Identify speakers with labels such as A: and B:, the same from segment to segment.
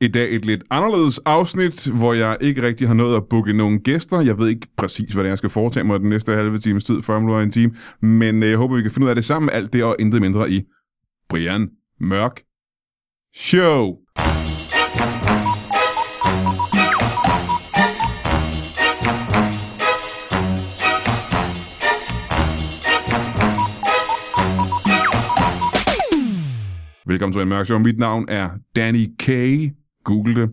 A: I dag et lidt anderledes afsnit, hvor jeg ikke rigtig har nået at booke nogen gæster. Jeg ved ikke præcis, hvad det er, jeg skal foretage mig den næste halve times tid, før jeg en time. Men øh, jeg håber, vi kan finde ud af det sammen. Alt det og intet mindre i Brian Mørk Show. Velkommen til Brian Mørk Show. Mit navn er Danny K. Google det.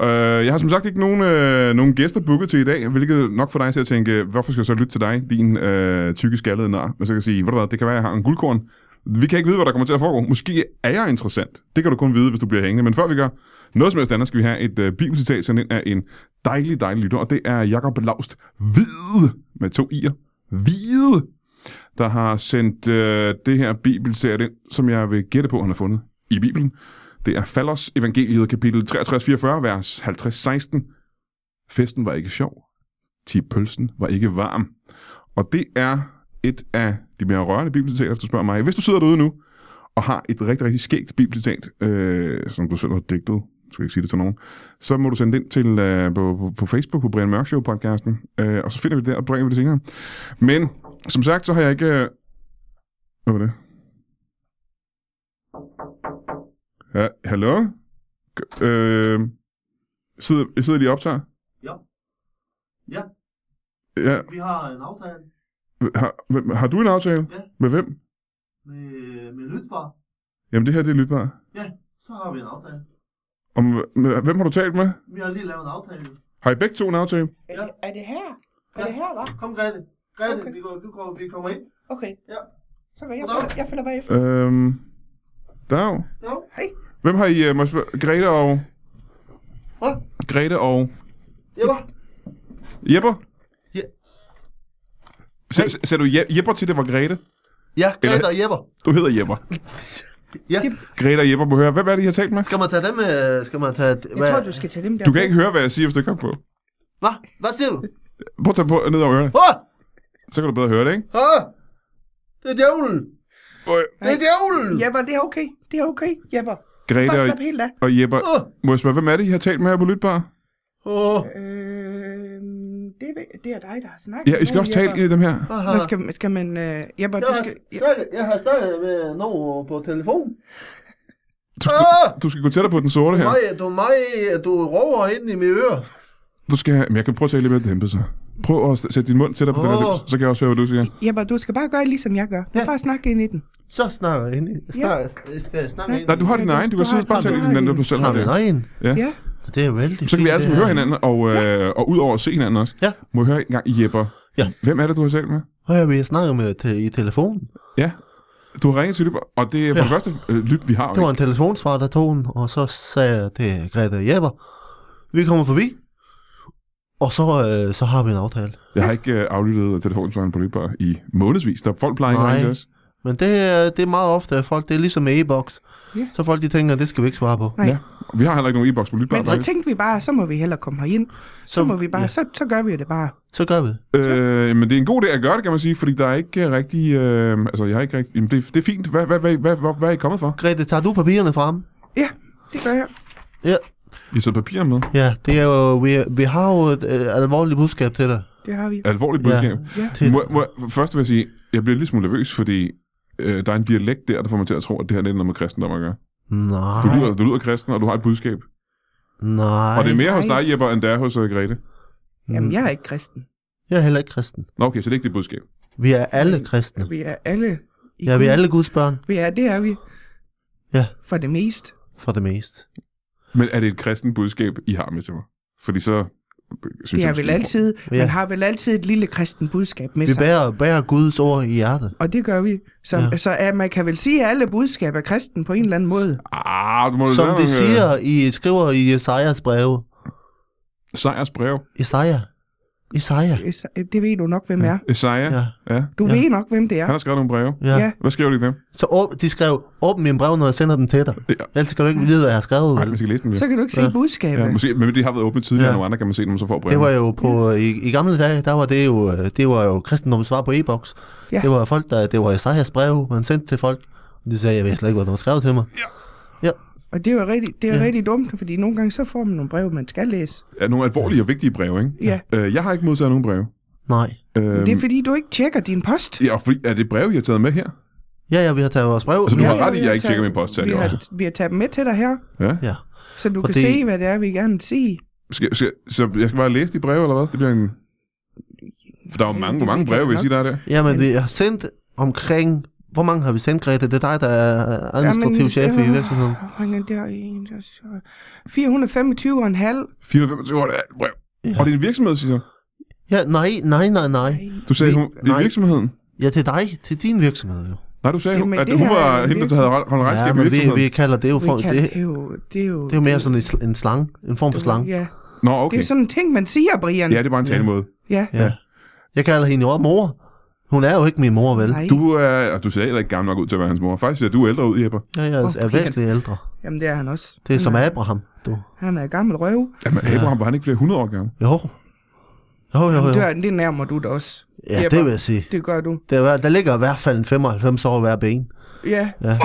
A: Uh, jeg har som sagt ikke nogen, uh, nogen gæster booket til i dag, hvilket nok får dig til at tænke, hvorfor skal jeg så lytte til dig, din uh, tykke skaldede nar? Men så kan jeg sige, ved du hvad, det kan være, jeg har en guldkorn. Vi kan ikke vide, hvad der kommer til at foregå. Måske er jeg interessant. Det kan du kun vide, hvis du bliver hængende. Men før vi gør noget som helst andet, skal vi have et uh, bibelcitat sendt ind af en dejlig, dejlig lytter, og det er Jakob Laust Hvide med to i'er. Hvide der har sendt øh, det her bibelserie, ind, som jeg vil gætte på, han har fundet i Bibelen. Det er Fallers evangeliet, kapitel 63-44, vers 50-16. Festen var ikke sjov. Tipølsen var ikke varm. Og det er et af de mere rørende bibelcitater, hvis du spørger mig. Hvis du sidder derude nu og har et rigtig, rigtig skægt bibelcitat, øh, som du selv har digtet, jeg skal ikke sige det til nogen, så må du sende det ind til, øh, på, på, på Facebook på Brian Mørk Show podcasten, øh, og så finder vi det der og bringer vi det senere. Men som sagt, så har jeg ikke... øh, Hvad var det? Ja, hallo? G- Øh, sidder, jeg sidder lige og optager?
B: Ja. Ja.
A: Ja,
B: Vi har en aftale
A: har, hvem- har du en aftale?
B: Ja.
A: Med hvem?
B: med, med Lytbar.
A: Jamen det her, det er lytbar.
B: Så har vi en aftale.
A: Om, med, hvem har du talt med?
B: Vi har lige lavet en aftale.
A: Har I begge to en aftale?
C: Er,
B: Ja.
C: det, er det her? Er
B: Ja.
C: det her, hva'?
B: Kom, Grete. Grete,
C: Okay.
B: vi, går, vi, går, vi kommer ind.
C: Okay.
B: Ja.
C: Så går jeg,
B: Goddag.
C: jeg følger bare efter.
A: Øhm, Dag.
B: Ja.
C: Hej.
A: Hvem har I, øh, må jeg spørge, Grete og...
B: Hvad?
A: Grete og...
B: Jepper.
A: Jepper?
B: Ja.
A: Sagde sagde du Je- Jepper til, det var Grete?
B: Ja, Grete
A: Eller-
B: og Jepper.
A: Du hedder Jepper.
B: Ja.
A: Grete og Jepper må høre. Hvem er det, I har talt med?
B: Skal man tage dem? øh, Skal man tage...
C: Jeg tror, du skal tage dem der.
A: Du kan ikke høre, hvad jeg siger, hvis du ikke har på.
B: Hvad? Hvad siger du?
A: Prøv at tage på ned over ørerne.
B: Hvad?
A: Så kan du bedre høre det, ikke?
B: Hvad? Det er djævlen.
A: Øh,
B: Det er djævlen.
C: Jepper, det er okay. Det er okay, Jepper.
A: Grete
C: Bare
A: og,
C: slap helt af.
A: og Jepper.
B: Åh.
A: Må jeg spørge, hvem er det, I har talt med her på Lytbar?
B: Åh.
C: Øh, det, er, det er dig, der har snakket.
A: Ja, I skal
C: med
A: også
C: nogen,
A: tale
C: Jepper.
A: ind i dem her.
B: Jeg
C: Nå,
B: har-
C: skal, skal man... Øh, Jepper,
B: jeg
C: du
B: har
C: skal... Ja,
B: snakket, jeg har snakket med nogen på telefon.
A: Du, du,
B: Åh!
A: du skal gå tættere på den sorte her.
B: Mig, du, mig, du råber ind i mit øre.
A: Du skal have... Men jeg kan prøve at tale lidt mere dæmpet, så. Prøv at s- sætte din mund tættere på den her
B: Åh.
A: lips, så kan jeg også høre, hvad du siger.
C: Jepper, du skal bare gøre ligesom jeg gør. Du
B: Ja.
C: ja. bare snakke ind i den.
B: Så snakker jeg ind i... Snakker, skal jeg snakke ind i...
A: Nej, du har din
C: Ja, du-
A: egen. Du
C: du
A: kan
C: har-
A: sidde og bare
C: du
A: tale ind i
C: har
A: den anden,
C: din.
A: du selv har
B: Har vi
A: det.
B: en?
A: Ja.
C: Ja.
B: Det er vældig
A: Så kan vi
B: fint,
A: alle sammen
B: det
A: høre
B: her.
A: hinanden, og, øh, og ud over at se hinanden også.
B: Ja.
A: Må jeg høre en gang, Jepper?
B: Ja.
A: Hvem er det, du har talt med?
B: Og jeg vil snakke med te- i telefonen.
A: Ja. Du har ringet til Lyb, og det er for
B: Ja.
A: det første øh, Lyb, vi har.
B: Det var
A: ikke?
B: en telefonsvar, der tog den, og så sagde jeg, det er Greta Jepper. Vi kommer forbi, og så, øh, så har vi en aftale.
A: Jeg har ikke øh, aflyttet telefonsvaren på Lyb i månedsvis. Der folk plejer ikke at
B: Nej.
A: ringe til os.
B: Men det, er- det er meget ofte, at folk, det er ligesom med e-boks.
C: Ja.
B: Så folk de tænker, det skal vi ikke svare på.
C: Nej.
A: Ja. Og Vi har heller ikke nogen e-boks på Lyb.
C: Men så tænkte vi bare, så må vi hellere komme herind. Så, så må vi bare...
B: ja,
C: Ja. Så, så gør vi jo det bare.
B: så gør vi det.
A: Øh, men det er en god idé at gøre det, kan man sige, fordi der er ikke øh, rigtig... Øh, altså, jeg har ikke rigtig... Jamen, det, det er fint. Hvad, hvad, hvad, hvad, hvad, hvad er I kommet for?
B: Grete, tager du papirerne frem?
C: Ja, det gør jeg.
B: Ja,
A: I sidder papirer med.
B: ja det er jo, vi, vi har jo et øh, alvorligt budskab til dig.
C: Det har vi.
A: Alvorligt budskab.
C: Ja.
B: Til,
A: Må, må, først vil jeg sige, jeg bliver lidt smule nervøs, fordi øh, der er en dialekt der, der får mig til at tro, at det her det er noget med kristendom at gøre. Du
B: nej,
A: lyder, du lyder kristen, og du har et budskab.
B: nej.
A: og det er mere hos
C: nej.
A: dig, Jepper, end det er hos uh, Grete.
C: Jamen, jeg er ikke kristen.
B: Jeg er heller ikke kristen.
A: Nå, okay, så det er ikke dit budskab.
B: Vi er alle kristne.
C: Vi er alle... i
B: Ja, vi er
C: Gud.
B: alle Guds børn.
C: Vi er, det er vi.
B: Ja.
C: For det mest.
B: For det meste.
A: Men er det et kristen budskab, I har med til mig? Fordi så øh, synes
C: Det
A: jeg,
C: er
A: måske-
C: vel altid,
B: Ja.
C: man har vel altid et lille kristen budskab med
B: Vi
C: sig.
B: bærer, bærer Guds ord i hjertet.
C: Og det gør vi. Så,
B: Ja.
C: ja. så at man kan vel sige, at alle budskaber er kristen på en eller anden måde.
A: Ah, du må
B: Som de
A: det
B: siger, I skriver i Esajas breve.
A: Sejers brev.
B: Esaja. Esaja.
C: Det ved du nok, hvem er.
A: Esaja. Ja.
B: Ja.
A: ja.
C: Du
B: Ja.
C: ved nok, hvem det er.
A: Han har skrevet nogle breve.
B: ja.
C: Ja.
B: ja.
A: Hvad skriver de i dem?
B: Så åb- de skrev, åbn mine brev, når jeg sender dem til dig.
A: Ja.
B: Ellers kan du ikke vide, hvad jeg har skrevet.
A: Nej,
B: vel?
A: man skal læse dem.
C: Så
A: Så...
C: kan du ikke sige
B: Ja.
A: Ja,
C: budskabet.
A: måske, men de har været åbne tidligere,
B: Ja.
A: ja. nogle andre kan man se, når man så får brevet.
B: Det var jo på, i, i gamle dage, der var det jo, øh, det var jo kristendommens svar på e-boks.
C: Ja.
B: Det var folk, der, det var Esajas brev, man sendte til folk. De sagde, jeg ved slet ikke, hvad du har skrevet til mig.
C: Og det er jo rigtig, det er
B: Ja.
C: ja. rigtig dumt, fordi nogle gange så får man nogle breve, man skal læse.
A: Er nogle alvorlige og vigtige breve, ikke?
C: Ja.
A: Øh, jeg har ikke modtaget nogen breve.
B: Nej.
A: Øh,
C: Øhm. Det er fordi, du ikke tjekker din post.
A: ja, fordi, er det breve, I har taget med her?
B: Ja, ja, vi har taget vores brev.
A: Altså, du
B: ja.
A: har ret i,
C: vi
A: jeg ikke
C: taget-
A: tjekker min post, sagde
C: vi
A: jeg
C: har, vi har taget dem med til dig her,
A: Ja.
B: ja.
C: så du
B: Og
C: kan
B: det-
C: se, hvad det er, vi gerne vil sige.
A: Skal, skal, så jeg skal bare læse de breve, eller hvad? Det bliver en... For der er jo mange, hvor mange breve, vil jeg sige, der er der?
B: Jamen, vi har sendt omkring... Hvor mange har vi sendt, Grete? Det er dig, der er administrativ
C: Jamen,
B: chef i
C: øh,
B: virksomheden.
C: hvor mange er der? En, der er så- 425 og en halv.
A: 425 år, det er et brev.
B: Ja.
A: Og det er en virksomhed, siger jeg.
B: Ja, nej, nej, nej, nej.
A: Du sagde,
B: Vi-
A: hun, det er
B: nej.
A: virksomheden.
B: Ja, til dig, til din virksomhed jo.
A: Nej, du sagde,
C: Jamen,
A: at
C: det
A: hun
C: her
A: var
C: er en
A: hende, der havde holdt regnskab
B: Ja,
A: ja, med
B: men vi,
A: virksomheden.
B: vi kalder det jo
C: Vi
B: for...
C: kan,
B: Det,
C: det, er jo, det er jo...
B: det er jo mere sådan en sl- en slange. En form for slange.
C: Ja,
A: Nå,
C: det
A: okay.
C: er sådan en ting, man siger, Brian.
A: Ja, det er bare en talemåde.
C: ja.
B: Ja. Jeg kalder hende jo også mor. Hun er jo ikke min mor, vel?
C: Nej.
A: Du er, og du ser heller ikke gammel nok ud til at være hans mor. Faktisk ser du ældre ud, Jeppe.
B: Ja, jeg
C: Åh,
B: er
C: Brian.
B: væsentligt ældre.
C: Jamen, det er han også.
B: Det er som
C: han,
B: Abraham, du.
C: han er gammel røv.
A: Jamen, Abraham, var han ikke flere hundrede år gammel?
B: Jo. Jo, jo, jo.
C: Døren, det nærmer du da også.
B: Ja, det vil jeg sige.
C: Det gør du.
B: Der, er- der ligger i hvert fald en 95 år i hver ben.
C: Ja.
B: Ja.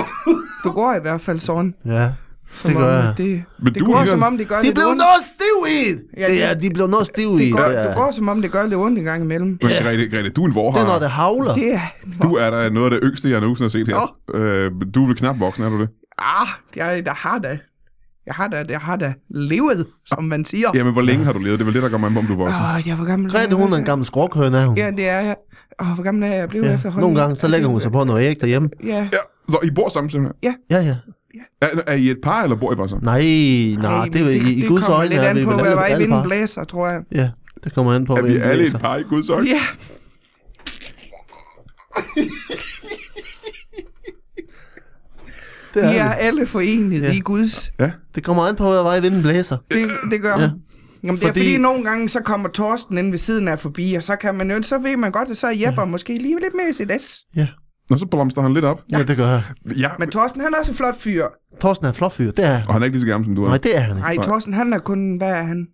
C: Du går i hvert fald sådan.
B: Ja.
C: Som
B: Det
C: om,
B: gør jeg.
C: at Det,
A: Men
C: det
A: du
C: går,
A: ligner-
C: som om det gør
B: De
C: lidt
B: blev
C: ondt.
B: noget stiv i!
C: Ja,
B: Det
C: det-
B: er, de blev noget stiv i.
C: Det går,
B: er-
C: det går, som om det gør lidt ondt en gang imellem.
A: Men Grete, Grete, du er en
B: det er,
A: vorhar.
B: når det havler.
C: Det er...
A: Du er der noget af det yngste, jeg nogensinde har set her.
C: Nå.
A: Øh, du er vel knap voksen, er du det?
C: Ah, jeg, der har da... Jeg har da, jeg har da levet, som man siger.
A: Jamen, hvor længe har du levet? Det er vel det, der gør mig om, du er voksen.
C: Åh, jeg var gammel.
B: Grete, hun er en gammel skrokhøne, er hun.
C: Ja, det er jeg. Åh, hvor gammel er jeg? Jeg blev
B: Ja.
C: efterhånden.
B: Nogle gange, så lægger hun sig på noget æg derhjemme.
C: Ja,
A: Ja, så I bor sammen simpelthen?
B: Ja, ja.
A: Er, er I et par, eller bor I bare sammen?
B: Nej, nej, det,
C: men
B: det, i, i
C: det
B: Guds
C: kommer
B: øjne
C: lidt
B: er
C: an
B: vi
C: på,
B: vel
C: hvad
B: alle,
C: vej
B: alle
C: vinden
B: par.
C: blæser, tror jeg.
B: Ja, det kommer an på,
A: Er vi
B: hvilken
A: alle
B: læser.
A: et par i Guds øjne?
C: Ja,
B: Det, er
C: vi er
B: vi.
C: alle forenet
B: Ja.
C: i Guds.
A: Ja.
B: det kommer an på, hvad vej vinden blæser.
C: Det, det gør
B: Ja.
C: ja. Jamen, det er
B: Fordi-
C: fordi... fordi nogle gange, så kommer Torsten ind ved siden af forbi, og så kan man jo, så ved man godt, at så er Jeppe måske lige lidt mere i sit S.
B: Ja,
A: Nå, så blomster han lidt op.
B: ja det gør jeg.
A: Ja,
C: Men Torsten, han er også en flot fyr.
B: Torsten er en flot fyr, det er han.
A: og han er ikke lige så gammel, som du er.
B: Nej, det er han ikke.
C: Nej, Torsten, han er kun, hvad er han?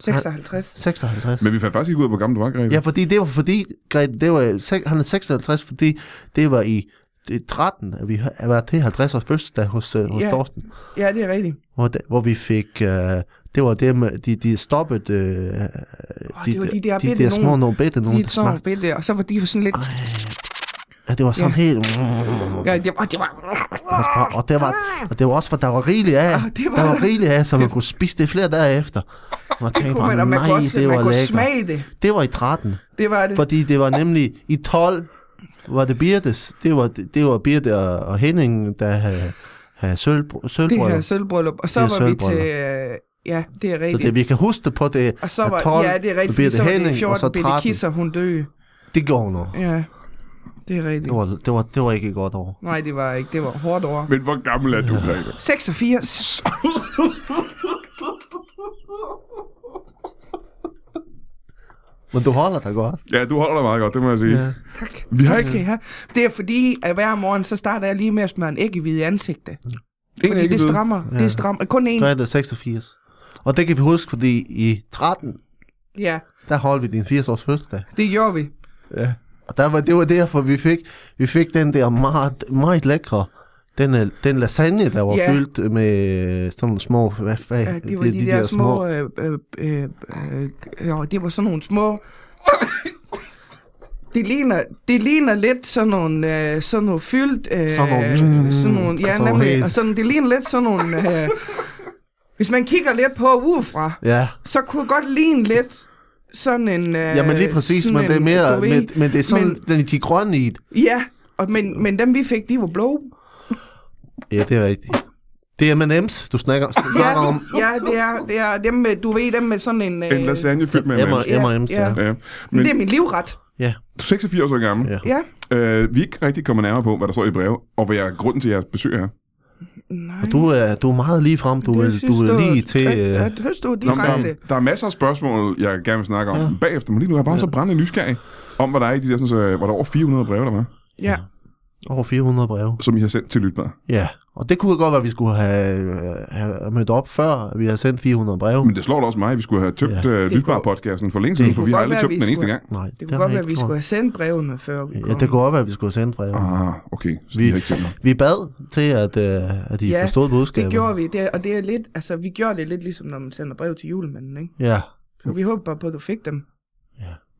C: 56.
B: 56.
A: Men vi fandt faktisk ikke ud af, hvor gammel du var, Grete.
B: Ja, fordi det var fordi, Grete, det var, sek- han er 56, fordi det var i det er 13, at vi har været til 50 års fødselsdag hos, øh, hos
C: Ja.
B: Dorsten,
C: Ja, det er rigtigt.
B: hvor, da- hvor vi fik, øh, det var det med, de, de stoppede, øh, de,
C: var de der
B: de,
C: bitte
B: der små
C: nogen.
B: nogle bitte nogen,
C: Lige
B: der
C: et sådan
B: smagte.
C: billede, og så var de sådan lidt...
B: Ja, det var sådan helt, mm,
C: Ja, det var... Det var
B: pas på. og det var, og det var også, for der var rigeligt af,
C: Ah, det var
B: der var
C: der.
B: rigeligt af, så man kunne spise det flere dage efter. Og man tænkte
C: kunne man,
B: bare,
C: og man
B: nej,
C: kunne også
B: det
C: man
B: var
C: kunne
B: lækkert.
C: smage det.
B: Det var i 13.
C: Det var det.
B: Fordi det var nemlig i 12, var det Birtes, det var, det var Birte og, og Henning, der havde, havde sølv,
C: det
B: sølvbrød.
C: her sølvbryllup. Og så
B: Det er
C: var vi til...
B: sølvbryllup.
C: øh, Ja, det er
B: Så
C: rigtigt.
B: det, vi kan huske det på det,
C: Og så
B: at
C: var,
B: 12,
C: ja, det er rigtigt, fordi
B: Birte
C: så var det
B: Henning, og så
C: 14 bitte
B: 13.
C: kisser, hun døde.
B: Det går nu.
C: Ja, det er rigtigt.
B: Det var, det, var, det var ikke et godt år.
C: Nej, det var ikke. Det var hårdt over.
A: Men hvor gammel er du, Grete?
C: 86.
B: Men du holder dig godt.
A: Ja, du holder dig meget godt, det må jeg sige.
B: Ja.
C: Tak.
A: Vi har
C: Tak
A: ikke-
C: skal I have. Det er fordi, at hver morgen, så starter jeg lige med at smøre en æggehvide i ansigtet.
A: En
C: Fordi
A: ikke
C: det
A: ved.
C: strammer.
B: Ja.
C: Det strammer. Kun én.
B: Så er det 86. Og det kan vi huske, fordi i 13,
C: Ja,
B: der holdt vi din 80-års fødselsdag.
C: det gjorde vi.
B: Ja. Og der var, det var derfor, vi fik, vi fik den der meget, meget lækre, den, øh, den lasagne, der var
C: Ja.
B: fyldt med sådan nogle små, hvad, hvad
C: Ja, det var de, de der, små... Øh, øh, øh, øh, jo, det var sådan nogle små... Det ligner, det ligner lidt sådan nogle, øh, sådan nogle fyldt... Øh,
B: Sådan nogle- mm,
C: sådan nogle, ja,
B: sådan
C: sådan
B: helt.
C: nemlig, og sådan, det ligner lidt sådan nogle... Øh, hvis man kigger lidt på udefra,
B: Ja,
C: så kunne det godt ligne lidt sådan en... Øh,
B: jamen lige præcis,
C: sådan
B: men det er
C: en,
B: mere,
C: du ved,
B: men, men det er sådan,
C: men-
B: men, de er grønne i det.
C: Ja, og, men, men dem vi fik, de var blå.
B: Ja, det er rigtigt. Det er M&M's, du snakker,
C: Ja,
B: snakker om.
C: ja det, er, det er dem med, du ved, dem med sådan en... Øh,
A: En lasagne fyldt med en
B: M&M's.
A: mand.
C: ja,
B: M&M's, ja.
C: ja.
A: Ja.
C: Men...
A: Men
C: Det er min livret.
B: Ja,
A: 86 år gammel.
B: ja.
C: Ja.
A: Øh, vi er ikke rigtig kommet nærmere på, hvad der står i brevet, og hvad jeg grunden til, at jeg besøger jer.
C: Nej.
B: Og du er, du er meget lige frem, du, vil, du vil lige til...
C: At,
B: øh,
C: at høste du
A: Nå, men der,
C: direkte.
A: er- der er masser af spørgsmål, jeg gerne vil snakke om ja. bagefter, men lige nu er jeg bare så brændende nysgerrig om, hvad der er i de der, sådan, så, var der over 400 breve, der var,
C: Ja.
B: Over 400 breve.
A: som I har sendt til lyttere.
B: Ja, Og det kunne godt være, at vi skulle have, øh, have mødt op, før vi havde sendt 400 breve.
A: Men det slår da også mig, at vi skulle have tømt ja. uh, Lydbar-podcasten for længe siden,
B: Det
A: for vi har
C: kunne
A: aldrig
C: godt
A: tømt
C: være,
A: den eneste
C: vi skulle-
A: gang.
B: Nej,
C: Det
B: har
C: kunne godt
B: jeg
C: være, at vi
B: ikke
C: skulle
B: gjort.
C: have sendt brevene, før vi kom.
B: Ja, det kunne godt være, at vi skulle have sendt breve.
A: Ah, okay. Så vi,
B: Vi-
A: har ikke tænkt mig.
B: Vi bad til, at, øh, at I
C: Ja,
B: forstod budskabet.
C: det gjorde vi, det, og det er lidt, altså vi gjorde det lidt ligesom, når man sender brev til julemanden, ikke?
B: Ja,
C: Så vi håber bare på, at du fik dem.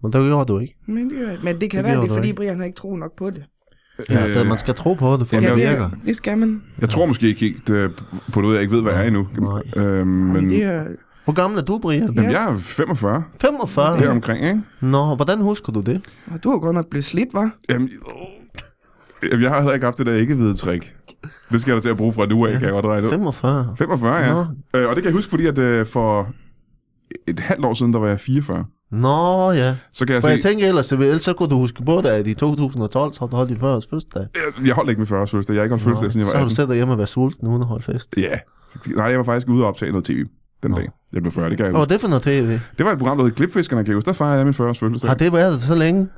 B: men det gjorde du ikke.
C: Men det, gjorde- men det kan
B: Det
C: det være,
B: gjorde
C: det er
B: du
C: fordi,
B: ikke.
C: Brian har ikke tro nok på det.
B: Ja,
A: Øh,
B: det, man skal tro på det, for
A: Jamen,
B: det
A: jeg-
B: virker.
C: det, det skal man.
A: Jeg tror måske ikke helt øh, på noget, jeg ikke ved, hvad jeg er endnu.
B: Nej.
A: Øhm, men
C: Men det er,
B: Hvor gammel er du, Brian?
A: jamen, jeg er 45
B: 45?
A: deromkring, ikke?
B: Nå, hvordan husker du det?
C: og du har godt nok blevet slidt, var?
A: Jamen, åh. Jamen, jeg har heller ikke haft det der ikke-hvide trick. Det skal jeg da til at bruge fra nu af, kan jeg godt regne ud.
B: 45?
A: 45, ja.
B: Nå.
A: Øh, og det kan jeg huske, fordi at øh, for et halvt år siden, der var jeg 44.
B: Nå, ja.
A: Så kan jeg
B: For jeg
A: se...
B: tænker ellers, at ellers så kunne du huske på det, at i 2012, så har du holdt din 40-års fødselsdag.
A: Øh, Jeg- Jeg holdt ikke min 40-års fødselsdag. Jeg har ikke holdt fødselsdag, siden jeg
B: så
A: var
B: har
A: 18.
B: du siddet derhjemme og været sulten uden at holde fest.
A: Ja. Nej, jeg var faktisk ude og optage noget tv den
B: Nå.
A: dag. Jeg blev 40, det kan jeg
B: Hvad var
A: huske.
B: det for noget tv?
A: Det var et program, der hed Klipfiskerne, kan jeg huske. Der fejrede jeg min 40-års fødselsdag.
B: Har det været det så længe?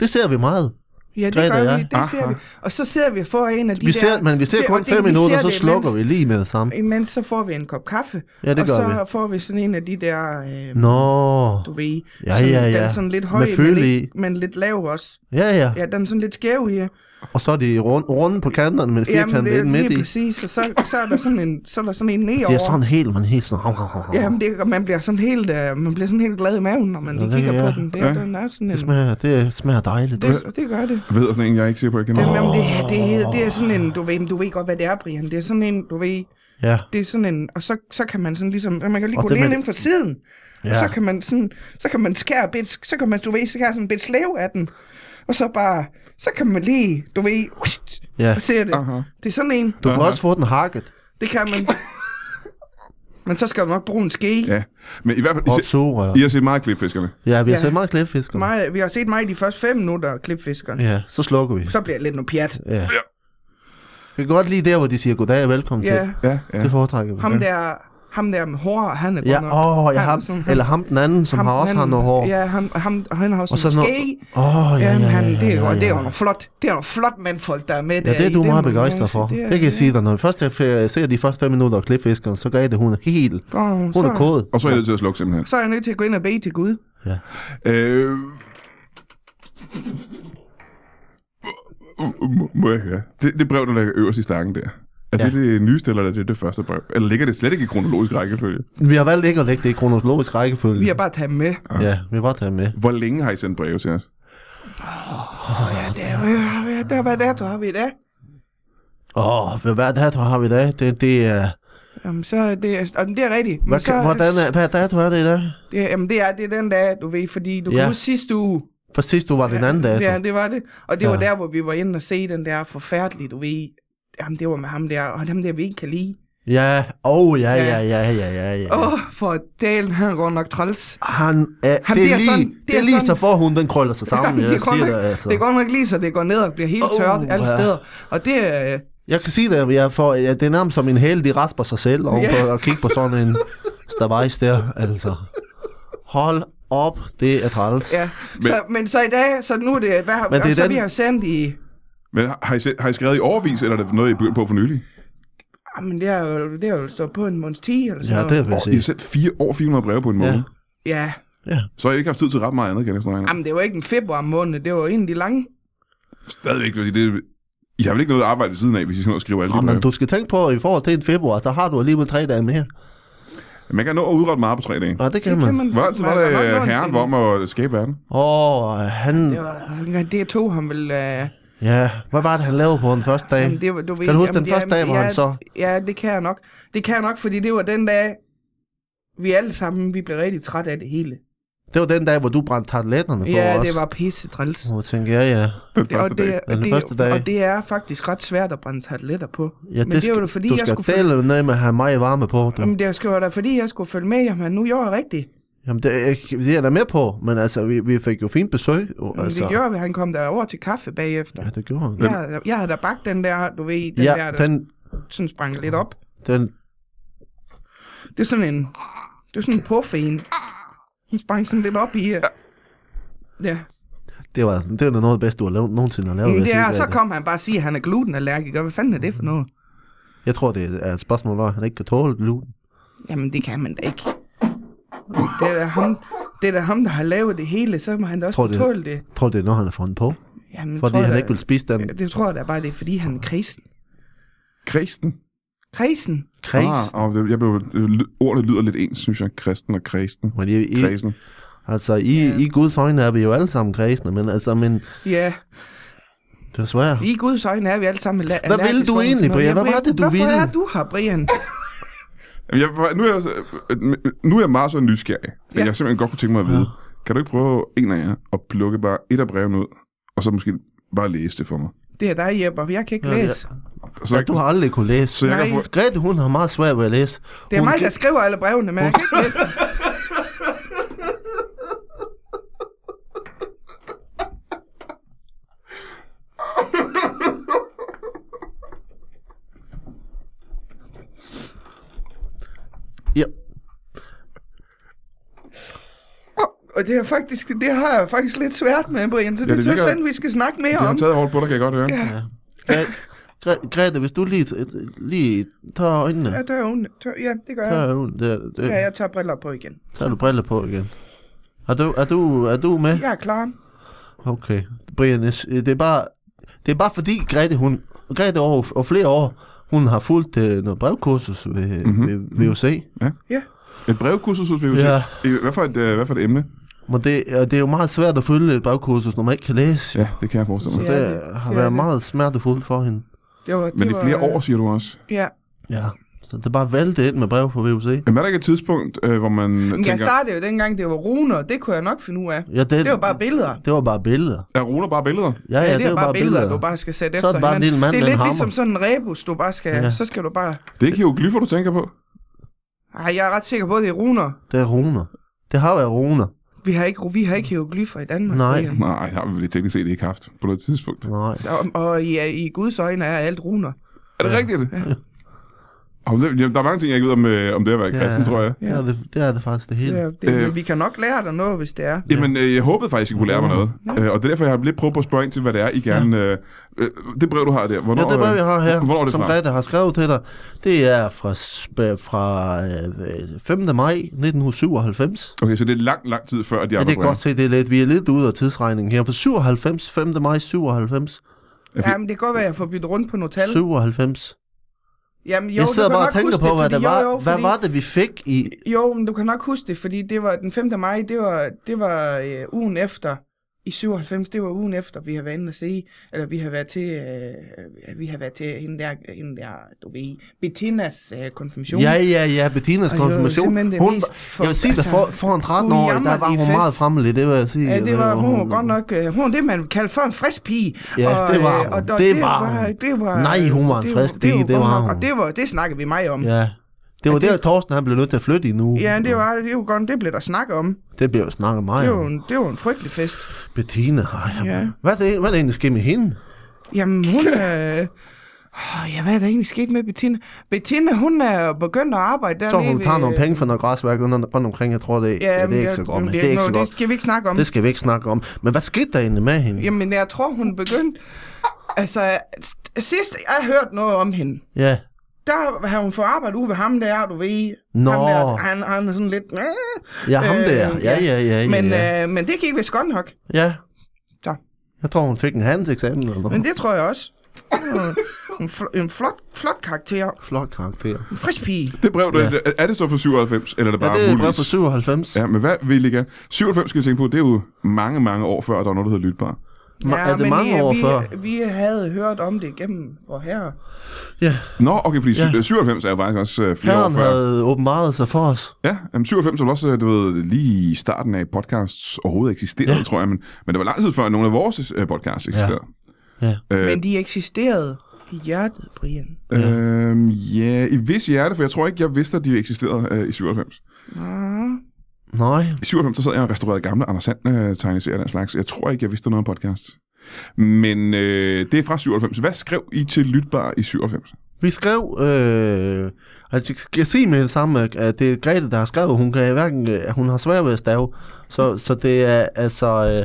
B: Det ser vi meget.
C: Ja, det
B: Grete og
C: gør vi,
B: jeg.
C: det ser
A: Aha.
C: vi. Og så sidder vi og får en af de
B: Vi
C: der...
B: ser, men vi ser
C: det-
B: kun
C: og det-
B: 5
C: vi
B: minutter,
C: ser
B: så
C: det,
B: slukker vi lige med det samme.
C: Imens, imens så får vi en kop kaffe,
B: Ja, det
C: og
B: gør
C: så
B: vi.
C: får vi sådan en af de der... Øh,
B: Nå.
C: Du ved,
B: Ja,
C: sådan,
B: ja,
C: den
B: ja.
C: er sådan lidt
B: Med
C: høj,
B: føle
C: men, ikke,
B: i.
C: men lidt lav også.
B: Ja, ja.
C: Ja, den er sådan lidt skæv i.
B: Og så er de runde, runde på kanterne, men
C: Jamen,
B: firkantet
C: det er
B: ind midt
C: lige
B: i.
C: præcis, og så, så er der sådan en, så er der sådan en nedover.
B: Det er sådan helt, man er helt sådan... hav, hav, hav, hav.
C: Jamen, det, man bliver sådan helt, øh, man bliver sådan helt glad i maven, når man
B: Ja,
C: lige
B: det
C: kigger
B: kan
C: på
B: jeg.
C: den. Det,
A: Ja.
C: ja. den er sådan en,
B: Det smager, det smager dejligt.
C: det, det gør det.
A: Jeg ved sådan en, jeg ikke ser på, jeg kender.
C: Den, jamen, det, det, det, er sådan en, du ved, du ved godt, hvad det er, Brian. Det er sådan en, du ved,
B: Ja,
C: det er sådan en, og så, så kan man sådan ligesom, man kan lige
B: Og
C: gå
B: det
C: lidt
B: med-
C: ind for siden, ja. og
B: Ja.
C: så kan man sådan, så kan man skære bit, så kan man, du ved, så kan sådan en bit slave af den, og så bare, så kan man lige, du ved, hust,
B: ja.
C: og ser det.
A: Aha.
C: Det er sådan en,
B: Du kan også få den hakket.
C: det kan man. Men så skal man nok bruge en ske. Ja.
A: Ja. Men i hvert fald, I,
B: Og
A: se,
B: surrør.
A: I har set meget Klipfiskerne.
B: Ja, vi har
C: Ja.
B: set meget klipfisker.
C: Mig, vi har set mig i de første fem minutter, klipfiskeren. Ja.
B: Ja, så slukker vi.
C: Så bliver det lidt noget pjat.
B: Ja. Vi kan godt lide der, hvor de siger goddag og velkommen til.
C: Ja,
A: Ja, ja.
B: Det foretrækker vi.
C: ham der, ham der med hår, han er
B: Ja,
C: godt nok.
B: åh, jeg
C: Han-
B: ham,
C: sådan-
B: eller ham den anden, som
C: ham
B: har
C: den
B: også har
C: anden-
B: noget hår.
C: Ja, ham, ham, og han har også
B: og så
C: sådan
B: noget...
C: noget ske.
B: Åh, ja, ja,
C: Jamen,
B: ja,
C: han, det er
B: ja,
C: jo,
B: ja,
C: det er jo
B: ja.
C: noget flot, det er noget flot mandfolk, der er med
B: Ja, det er
C: i
B: du
C: den
B: meget
C: moment.
B: begejstret for.
C: er-
B: Det kan jeg sige dig. Når vi først ser- ser de første fem minutter af klipfiskeren, så gør I det, hun er helt...
C: Åh,
B: Hun er
C: så-
B: kåd.
A: Og så er jeg nødt til at slukke simpelthen.
C: Så er jeg nødt til at gå ind og bede til Gud.
B: Ja.
A: Øh... Må- Må jeg høre? Det, det brev, der ligger øverst i stakken der. Er ja. det det nyeste, eller er det det første brev? Eller ligger det slet ikke i kronologisk rækkefølge?
B: Vi har valgt ikke at lægge det i kronologisk rækkefølge.
C: Vi har bare taget med.
B: Ja, vi var der med.
A: Hvor længe har I sendt breve til os?
C: Det er, hvad har vi- det er, hvad det er, du har vi i dag.
B: Åh, hvad- hvad dato har vi i dag? Det, det er...
C: Jamen, så er det, og det er rigtigt. Men
B: Hvad,
C: så,
B: kan, hvordan er, hvad dato er det i dag?
C: Det, jamen, det er, det er den dag, du ved, fordi du ja.
B: Ja.
C: kan huske sidste uge.
B: For sidst du var den anden dato.
C: Ja, det var det. Og det ja. var
B: Ja.
C: der, hvor vi var inde og se den der forfærdelige, du ved. Jamen, det var med ham der, og dem der, vi ikke kan lide.
B: Ja, åh, oh, ja, ja, ja, ja, ja, ja.
C: Åh, ja. oh, for dalen, han er godt nok træls.
B: Han er,
C: Han
B: det er
C: bliver
B: lige,
C: sådan-
B: det er lige så for hun, den krøller sig sammen.
C: Jamen,
B: Jeg,
C: det, er godt
B: siger
C: nok,
B: det, altså.
C: det er godt nok lige så, det går ned og bliver helt
B: Åh,
C: tørt alle
B: ja.
C: steder. Og det er... Øh,
B: jeg kan sige det, at jeg får, ja, det er nærmest som en hæl, de rasper sig selv og yeah. at kigge på sådan en stavajs der, altså. Hold op, det er træls.
C: ja. Men, så, men så i dag, så nu er det...
B: Men
C: Hvad, men
B: det er
C: det så
B: den-
C: vi har sendt i...
A: Men har- har I, sendt, har I skrevet i overvis, eller er det noget, I begyndte på for nylig?
C: Jamen, ah, det har jo, det har jo stået på en måneds 10 eller sådan
B: Ja, det
C: noget.
B: er jeg
A: Oh, I har
B: sige.
A: sendt fire, over 400 breve på en måned.
B: Ja.
A: Ja.
C: Ja,
A: Så har I ikke haft tid til ret meget andet, kan jeg næsten regne. ud.
C: jamen, det var ikke en februar måned, det var en af de lange.
A: Stadigvæk, fordi det, I har vel ikke noget arbejde ved siden af, hvis I sådan noget skriver alle
B: Nå,
A: de
B: Ah, men
A: breve.
B: du skal tænke på, at i forhold til en februar, så har du alligevel tre dage mere.
A: Man kan nå at udrette meget på tre dage.
B: Ja, det kan man.
A: Hvor altid var det
C: man- man- man-
A: herren om at skabe verden?
B: Åh, oh, han...
C: Det var, det tog ham vel... Øh,
B: Ja, hvad var det, han lavede på den første dag?
C: Jamen, det, var- du ved,
B: Kan du huske
C: jamen,
B: den første dag,
C: jamen,
B: hvor
C: ja,
B: han så-
C: Ja, det kan jeg nok. Det kan jeg nok, fordi det var den dag, vi alle sammen, vi blev rigtig trætte af det hele.
B: Det var den dag, hvor du brændte tarteletterne på
C: Ja,
B: os.
C: det var pisse træls.
B: Og jeg tænkte, ja, ja.
A: Den første
C: og,
A: dag.
C: det, og,
B: Den
C: det,
B: første dag.
C: og det er faktisk ret svært at brænde tarteletter på.
B: ja
C: Men det, er jo fordi,
B: du
C: jeg
B: skal
C: skulle følge,
B: dele noget med at have mig varme på. Du.
C: jamen, det skal jo da fordi, jeg skulle følge med, jamen nu gjorde jeg rigtigt.
B: Jamen, det, er- det er jeg da med på, men altså, vi, vi fik jo fint besøg. Jo,
C: Men
B: altså.
C: det gjorde vi, han kom derover til kaffe bagefter.
B: Ja, det gjorde han.
C: Jeg, havde- jeg havde da bagt den der, du ved, den
B: ja,
C: der, der
B: den,
C: sådan sprang lidt op.
B: den,
C: Det er sådan en... Det er sådan en puff en. Hun sprang sådan lidt op i... øh, Ja.
B: det var, det var da noget af det bedste, du har lavet, nogensinde har lavet.
C: Men
B: vil jeg
C: det er,
B: sige,
C: og så
B: Grete.
C: kom han bare og siger, at han er glutenallergiker. Hvad fanden er det for noget?
B: Jeg tror, det er et spørgsmål, når han ikke kan tåle gluten.
C: Jamen, det kan man da ikke. Det er da ham, det er da ham der har lavet det hele, så må han da også
B: Tror
C: tror,
B: det-
C: tåle det.
B: Jeg tror, det er noget, han har fundet på.
C: Jamen,
B: Fordi
C: tror
B: han
C: jeg
B: ikke
C: da-
B: vil spise den
C: Ja, Det tror jeg da bare, det er, fordi han er kristen.
A: Kristen.
C: Kristen?
B: kreds.
A: Ah, og jeg blev, øh, ly- ordet lyder lidt ens, synes jeg. Kristen og kristen.
B: Men i, i,
A: Kristen.
B: altså, i, i Guds øjne er vi jo alle sammen kredsende, men altså, men
C: Ja.
B: det er svært.
C: I Guds øjne er vi alle sammen la-
B: Hvad ville du egentlig, Brian? Hvad var det, du
C: Hvorfor
B: ville?
C: Hvorfor er du her, Brian?
A: Jamen, Jeg, var- nu, er jeg, så- øh, nu er jeg meget så nysgerrig, at
C: Ja.
A: jeg simpelthen godt kunne tænke mig at vide, kan du ikke prøve en af jer at plukke bare et af brevene ud, og så måske bare læse det for mig?
C: Det er dig, Jeppe, og jeg kan ikke
B: Ja, ja.
C: læse.
A: Så,
B: Ja, du har aldrig kunne læse.
A: så jeg kan
C: Nej.
A: få...
B: Grete, hun har meget svært ved at læse.
C: Det er
B: hun
C: mig,
B: kan-
C: der skriver alle brevene, men jeg kan ikke læse dem.
B: Ja.
C: Og det, er faktisk, det har jeg faktisk lidt svært med, Brian, så det,
A: det
C: ja, det
A: virker-
C: synes jeg, vi skal snakke mere
A: Det har
C: om.
A: taget hårdt på dig, kan jeg godt høre. Ja.
B: ja. Gre- Gre- Grete, hvis du lige, lige tør øjnene.
C: Ja, tør øvne. Tør, ja, det gør
B: Tør
C: jeg.
B: øjnene. Der, der.
C: Ja, jeg tager briller på igen.
B: Så har du briller på igen. Er du, er du, er du med?
C: Jeg er klar.
B: Okay. Brian, jeg sy- det er bare, det er bare fordi Grete, hun, Grete over, og flere år, hun har fulgt øh, noget brevkursus ved, mm-hmm. ved VUC.
C: Ja.
A: Et brevkursus, synes vi jo
B: Ja.
A: sige. Hvad for et, øh, hvad for et emne?
B: Men det, og det er jo meget svært at følge et brevkursus, når man ikke kan læse.
A: Ja, det kan jeg forestille mig.
C: Ja,
B: det,
C: det-
B: det har
C: det
B: været
C: er det.
B: meget smertefuldt for hende.
C: Det var,
A: Men
C: det
A: i flere
C: var,
A: år, siger du også.
C: Ja.
B: Ja. Så det er bare væltet ind med brev fra VUC.
A: Jamen, er der ikke et tidspunkt, øh, hvor man
C: Men jeg
A: tænker,
C: startede jo dengang, det var runer, og det kunne jeg nok finde ud af.
B: Ja,
C: Det var bare billeder.
B: Det var bare billeder.
A: er runer bare billeder?
B: Ja, ja,
C: Ja, det er bare billeder, du bare skal sætte
B: Så er
C: efter
B: det bare en
C: hinanden.
B: lille mand
C: Det er
B: med en
C: lidt
B: hammer.
C: ligesom sådan en rebus, du bare skal...
B: Ja.
C: Ja. Så skal du bare...
A: Det er ikke hieroglyffer, du tænker på?
C: Ej, jeg er ret sikker på, at det er runer.
B: Det er runer. Det har været runer.
C: Vi har ikke, vi har ikke hieroglyffer i Danmark.
B: Nej.
C: Brian.
A: Nej, det har vi vel teknisk set ikke haft på noget tidspunkt.
B: Nej.
C: Og, og i, i Guds øjne er alt runer.
A: Er det rigtigt? Ja. Og det, jamen, der er mange ting, jeg ikke ved om, øh, om det at være kristen, tror jeg.
B: Ja, det, er det, det er det faktisk det hele.
C: Ja, det,
A: Øh.
C: øh. Vi kan nok lære dig noget, hvis det er.
A: Jamen, øh, jeg håbede faktisk, I kunne lære mig noget. Øh, og det er derfor, jeg har lidt prøvet på at spørge ind til, hvad det er, I gerne... Øh, øh, det brev, du har der, hvornår,
B: Ja, det brev, jeg har her,
A: øh, hvornår er det
B: som
A: fra?
B: Grete har skrevet til dig, det er fra, sp- fra øh, 5. maj 1997.
A: Okay, så det er lang, lang tid før, at de
B: Ja,
A: andre
B: det kan
A: breve.
B: godt se, det er lidt, vi er lidt ude af tidsregningen her. For 97, 5. maj 97,
A: Ja,
C: Jamen, det kan godt være, at jeg får byttet rundt på nogle tal.
B: 97.
C: Jamen, jo,
B: jeg sidder
C: du kan
B: bare og
C: nok
B: tænker
C: huske
B: på,
C: det,
B: hvad,
C: fordi,
B: det var,
C: jo, jo,
B: hvad
C: fordi,
B: var det, vi fik i...
C: Jo, men du kan nok huske det, fordi det var den 5. maj, det var, det var øh, ugen efter i 97, det var ugen efter, vi har været inde og se, eller vi har været til, øh, vi har været til hende der, hende der du ved, Bettinas øh, konfirmation.
B: Ja, ja, ja, Bettinas
C: Og det var
B: konfirmation.
C: simpelthen
B: Hun,
C: det mest
B: var-
C: for-
B: jeg vil sige, der
C: altså,
B: for, for en 13 år, der var hun
C: ujammerlige
B: meget
C: fest.
B: fremmelig, det vil jeg sige. øh,
C: Ja, det var, hun var
B: hun-
C: godt nok, øh, hun var det, man kaldte for en frisk pige.
B: Ja, det var
C: øh,
B: hun. Det var hun.
C: det var,
B: Nej, hun var en
C: det
B: frisk pige,
C: godt
B: det var
C: nok,
B: hun.
C: Og det, var, det snakkede vi meget om. Ja,
B: Ja. Det var
C: Ja,
B: der,
C: det-
B: Torsten han blev nødt til at flytte i nu.
C: ja det var det, var godt, det blev der snak om.
B: Det blev jo snakket meget
C: Det
B: om.
C: var, en, det var en frygtelig fest.
B: Bettina, ej, ja.
C: Ja.
B: hvad, er det, hvad er det egentlig sker med hende?
C: Jamen, hun... Øh... Oh, ja, hvad er der egentlig sket med Bettina? Bettina, hun er begyndt at arbejde der.
B: Jeg tror, hun tager nogle
C: øh,
B: penge fra noget græsværk under- rundt omkring, jeg tror, det, ja, ja, det er ikke så godt, men det er ikke så
C: Det
B: godt.
C: skal vi ikke snakke om.
B: Det skal vi ikke snakke om. Men hvad skete der egentlig med hende?
C: Jamen, jeg tror, hun begyndte... Altså, s- sidst jeg hørte noget om hende,
B: Ja,
C: der har hun fået arbejde ude ved ham der, du ved.
B: Nå.
C: Ham der, han, han er sådan lidt... Øh,
B: ja ham
C: Øh,
B: der. Ja, ja, ja. ja,
C: men,
B: ja.
C: Øh, men det gik vist godt nok.
B: ja.
C: Så.
B: Jeg tror, hun fik en handelseksamen eller
C: Men
B: noget.
C: det tror jeg også. en, fl- en flot, flot karakter.
B: Flot karakter.
C: En frisk pige.
A: Det brev, ja. det, er det så fra 97, eller er det
B: Ja,
A: bare
B: det er et brev
A: muligvis?
B: fra 97.
A: Ja, men hvad vil I gerne? 97 skal I tænke på, det er jo mange, mange år før, der var noget, der hedder Lytbar.
B: Ma- er det
C: men
B: mange
C: vi,
B: år
C: vi,
B: før?
C: Vi havde hørt om det gennem vor herre.
B: Ja,
A: Nå, okay, fordi ja. 97 er jo faktisk også øh, flere
B: herren
A: år før.
B: havde åbenbaret sig for os.
A: Ja, jamen, 97 var vel også, øh, du ved, lige i starten af podcasts overhovedet eksisterede, ja. tror jeg, men, men det var lang tid før, at nogle af vores øh, podcasts eksisterede.
B: Ja.
A: Øh.
C: Øh. Men de eksisterede i hjertet, Brian.
A: Ja. Øhm, ja, i vis hjerte, for jeg tror ikke, jeg vidste, at de eksisterede øh, i 97.
C: Ah,
B: Nej.
A: I 97 så sad jeg og restaurerede gamle Anders Sand øh, tegneserier og den slags. Jeg tror ikke, jeg vidste noget om podcasts. Men øh, det er fra 97. Hvad skrev I til Lytbar i 97?
B: Vi skrev, øh, altså jeg skal sige med det samme, at det er Grete, der har skrevet, hun kan hverken, øh, hun har svært ved at stave, så, så det er altså, øh,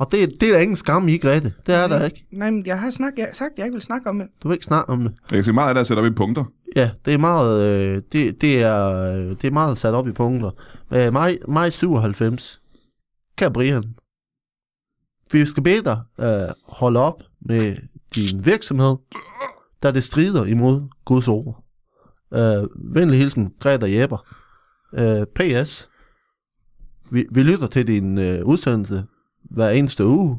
B: Og det, det er der ingen skam i, Grete. Det er der ikke.
C: Nej, men jeg har snak, jeg, sagt, at jeg ikke vil snakke om det.
B: Du vil ikke snakke om det.
A: Jeg kan se, meget af det er sat op i punkter.
B: Ja, det er meget, øh, det, det er, øh, det er meget sat op i punkter. Øh, maj, maj 97. Kære Brian, vi skal bede dig øh, holde op med din virksomhed, da det strider imod Guds ord. Øh, venlig hilsen, Greta Jepper. Øh, P.S. Vi, vi lytter til din øh, udsendelse hver eneste uge,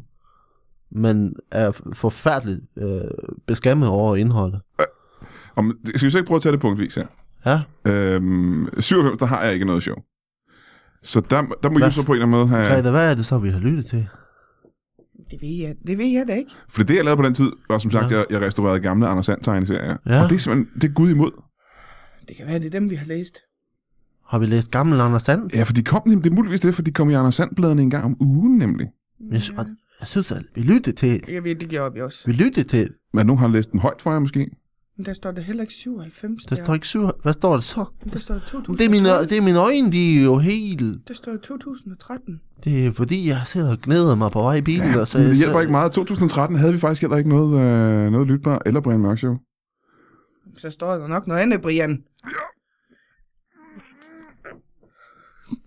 B: men er forfærdeligt øh, beskæmmet over indholdet.
A: Om, skal vi så ikke prøve at tage det punktvis her?
B: Ja,
A: Øhm, 97, der har jeg ikke noget show. Så der, der må
B: Hvad?
A: I så på en eller anden måde have...
B: Greta, hvad er det så, vi har lyttet til?
C: Det ved jeg, det ved jeg da ikke.
A: For det, jeg lavede på den tid, var som sagt,
B: Ja.
A: ja. jeg, jeg restaurerede gamle Anders Sand tegneserier.
B: Ja.
A: Ja. Og det er simpelthen, det er Gud imod.
C: Det kan være, det er dem, vi har læst.
B: Har vi læst gammel Anders Sand?
A: Ja, for de kom nemlig, det er muligvis det, for de kom i Anders Sand-bladene en gang om ugen nemlig.
B: Jeg, sy- og jeg synes, at vi lyttede til,
C: Jeg ved, det gjorde vi også.
B: vi lyttede til,
A: Men nogen har læst den højt for jer måske.
C: Men der står der heller ikke 97.
B: der står ikke syv, hvad står det så?
C: Men der står 2013.
B: Det er, mine, det er mine øjne, de er jo helt,
C: Der står 2013.
B: det er fordi, jeg sidder og gnæder mig på vej i bilen, og så,
A: Men det
B: så
A: hjælper ikke meget. 2013 havde vi faktisk heller ikke noget, øh, noget lytbar eller Brian Mørk Show.
C: Så står der nok noget andet, Brian.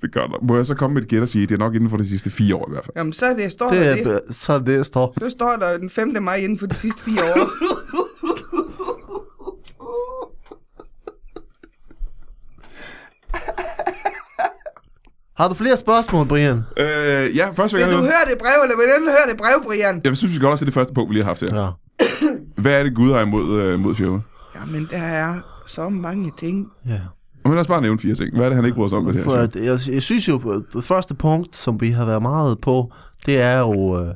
A: Det gør der. Må jeg så komme med et gæt og sige, at det er nok inden for de sidste fire år i hvert fald.
C: Jamen, så er det, står
B: det
C: der det.
B: er så er det, der står.
C: Nu står der den 5. maj inden for de sidste fire år.
B: Har du flere spørgsmål, Brian?
A: Øh, ja, først vil
C: Vil
A: jeg
C: du
A: gerne
C: høre det brev, eller vil du høre det brev, Brian?
A: jeg synes, vi skal holde os til det første punkt, vi lige har haft her.
B: Ja.
A: Hvad er det, Gud har imod, øh, mod showet?
C: Jamen, der er så mange ting.
B: ja.
A: Men lad os bare nævne fire ting. Hvad er det, han ikke bryder sig om ved det her
B: For,
A: show?
B: at jeg, jeg synes jo, at det første punkt, som vi har været meget på, det er jo, øh,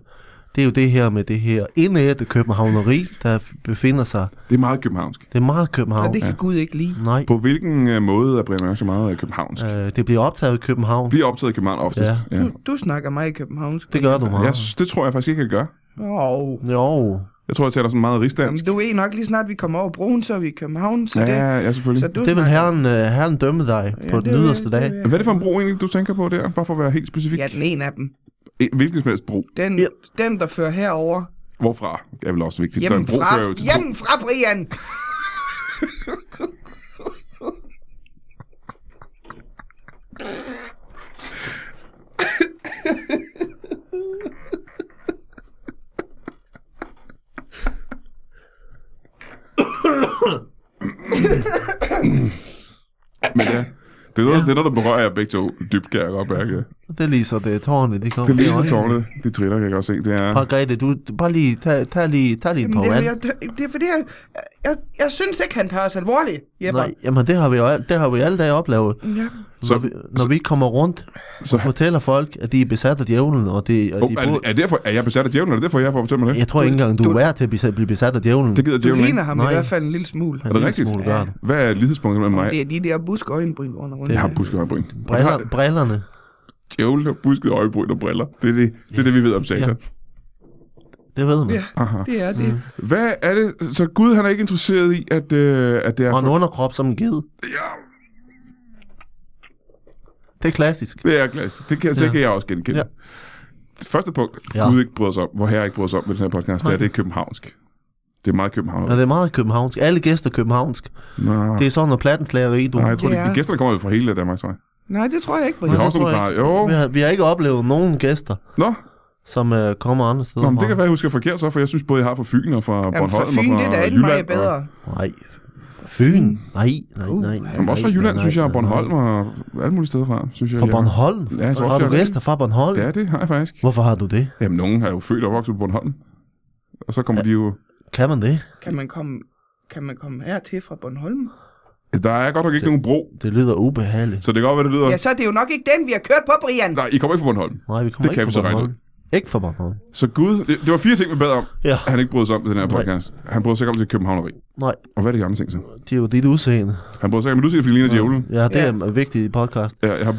B: det er jo det her med det her indætte københavneri, der befinder sig.
A: Det er meget københavnsk.
B: Det er meget København.
C: Og det kan Gud ikke lide.
B: Nej.
A: På hvilken øh, måde er Brian Mørk så meget øh, københavnsk?
B: Øh, det bliver optaget i København.
A: Bliver optaget i København oftest. Ja.
C: Du, du snakker meget københavnsk.
B: Det gør du
A: Jeg,
B: meget.
A: synes- det tror jeg faktisk ikke, jeg gør.
C: Åh,
B: Jo.
A: Jeg tror, jeg taler sådan meget
C: Jamen,
A: rigsdansk.
C: du ved nok lige snart, vi kommer over broen, så er vi i København. Så
A: Ja,
C: det,
A: ja, ja, selvfølgelig.
C: så du
B: Det vil
C: snakker-
B: herren, øh, herren dømme dig
C: Ja,
B: på
C: det
B: den
C: vil-
B: yderste
C: det
B: dag.
C: vil-
A: Hvad er det for en bro egentlig, du tænker på der? Bare for at være helt specifik.
C: Ja, den ene af dem.
A: E- Hvilken som helst bro.
C: Den,
B: Ja.
C: den der fører herover.
A: Hvorfra? er vel også vigtigt. der er en bro
C: Hjemmefra,
A: fører jo til to.
C: hjemmefra Brian!
A: Men ja, det er, noget, det er noget, der berører jer begge to dybt, kan jeg godt mærke.
B: Det er lige så det er tårne, det kommer.
A: Det er lige
B: i
A: så
B: øjnene.
A: tårne. Det triller, kan jeg godt se. Det er...
B: Bare Grete, du, du- bare lige, tag, tag lige, tag lige
C: Jamen,
B: på
C: det, er,
B: vand.
C: jeg, det er fordi, jeg, jeg, jeg synes ikke, han tager os alvorligt, Jeppe.
B: Nej, jamen det har vi jo al- det har vi alle dage oplevet.
C: Ja.
A: Så,
B: når, vi, når vi kommer rundt
A: så,
B: og fortæller folk, at de er besat af djævlen, og, det, og
A: oh,
B: de
A: er, det,
B: bor-
A: er, derfor, er jeg besat af djævlen? Er det derfor, jeg får fortælle mig det?
B: Jeg tror ikke engang, du er værd til at bes- blive besat af djævlen.
A: Det gider
C: Du
A: djævlen
C: ligner
A: ikke.
C: ham i
B: Nej.
C: hvert fald en lille smule.
A: Er det rigtigt?
B: Smule, gør det.
A: Hvad er lighedspunktet mellem mig?
C: Det er de der buskøjenbryn under rundt.
A: Jeg har busket øjebryn. Og det
B: Briller,
A: har-
B: brillerne.
A: Djævlen har busket øjebryn og briller. Det er det, det, er det vi ved om Satan.
B: Det ved man.
C: Ja, det er
A: Mm.
C: det.
A: Hvad er det? Så Gud han er ikke interesseret i, at, øh, at det er...
B: Og en
A: For...
B: underkrop som en ged.
A: Ja,
B: Det er klassisk.
A: det er glas. Det kan, så kan jeg også genkende.
B: Ja.
A: Ja. Det første punkt,
B: Ja.
A: ja. Gud ikke bryder sig om, hvor herre ikke bryder sig om ved den her podcast, det er, det er københavnsk. Det er meget københavnsk.
B: Og det er meget københavnsk. Alle gæster er københavnsk.
A: Nå.
B: Det er sådan noget plattenslageri, du.
A: Nej, jeg tror,
C: Det
A: de, de
C: er-
A: gæsterne kommer jo fra hele Danmark, tror jeg.
C: Nej, det tror jeg ikke,
A: Vi
C: Brian.
A: har
B: det
A: også nogle
B: tror
A: fra...
B: jeg
A: Jo.
B: Vi har, vi har ikke oplevet nogen gæster,
A: Nå,
B: som øh, kommer andre steder
A: Nå men det
B: fra.
A: kan være, jeg husker forkert så, for jeg synes både, jeg har fra Fyn og fra
C: Jamen,
A: Bornholm
C: for Fyn,
A: og fra
C: det er da ikke meget
A: Jylland.
C: bedre.
A: Og,
B: Nej. Fyn? Nej, nej, nej. nej
A: Uh, jamen, også fra
B: nej,
A: Jylland,
B: nej,
A: synes jeg, og
B: nej,
A: Bornholm
B: nej.
A: og alle mulige steder fra, synes jeg.
B: Fra
A: jeg-
B: Bornholm?
A: Ja, jeg tror også,
B: har du
A: jeg-
B: gæster fra Bornholm?
A: Ja, det har jeg faktisk.
B: Hvorfor har du det?
A: Jamen, nogen er jo født og vokset på Bornholm. Og så kommer ja. de jo...
B: Kan man det?
C: Kan man komme, kan man komme hertil fra Bornholm?
A: Der er godt nok ikke nogen bro,
B: Det lyder ubehageligt.
A: så det kan godt være, det lyder...
C: Ja, så er det jo nok ikke den, vi har kørt på, Brian.
A: Nej, I kommer ikke fra Bornholm.
B: Nej, vi kommer
A: Det kan
B: ikke fra
A: vi så regne
B: Bornholm. Ikke fra Bornholm.
A: Så Gud... Det, det var fire ting, vi bad om,
B: Ja,
A: han ikke brød sig om i den her podcast. Han brød sig ikke om til Københavneri.
B: nej,
A: Og hvad er det de andre ting så?
B: det er jo dit udseende.
A: Han brød sig ikke om, at du siger, at ligner djævlen.
B: Ja, det
C: Ja.
B: er vigtigt i podcast.
A: Ja, jeg har...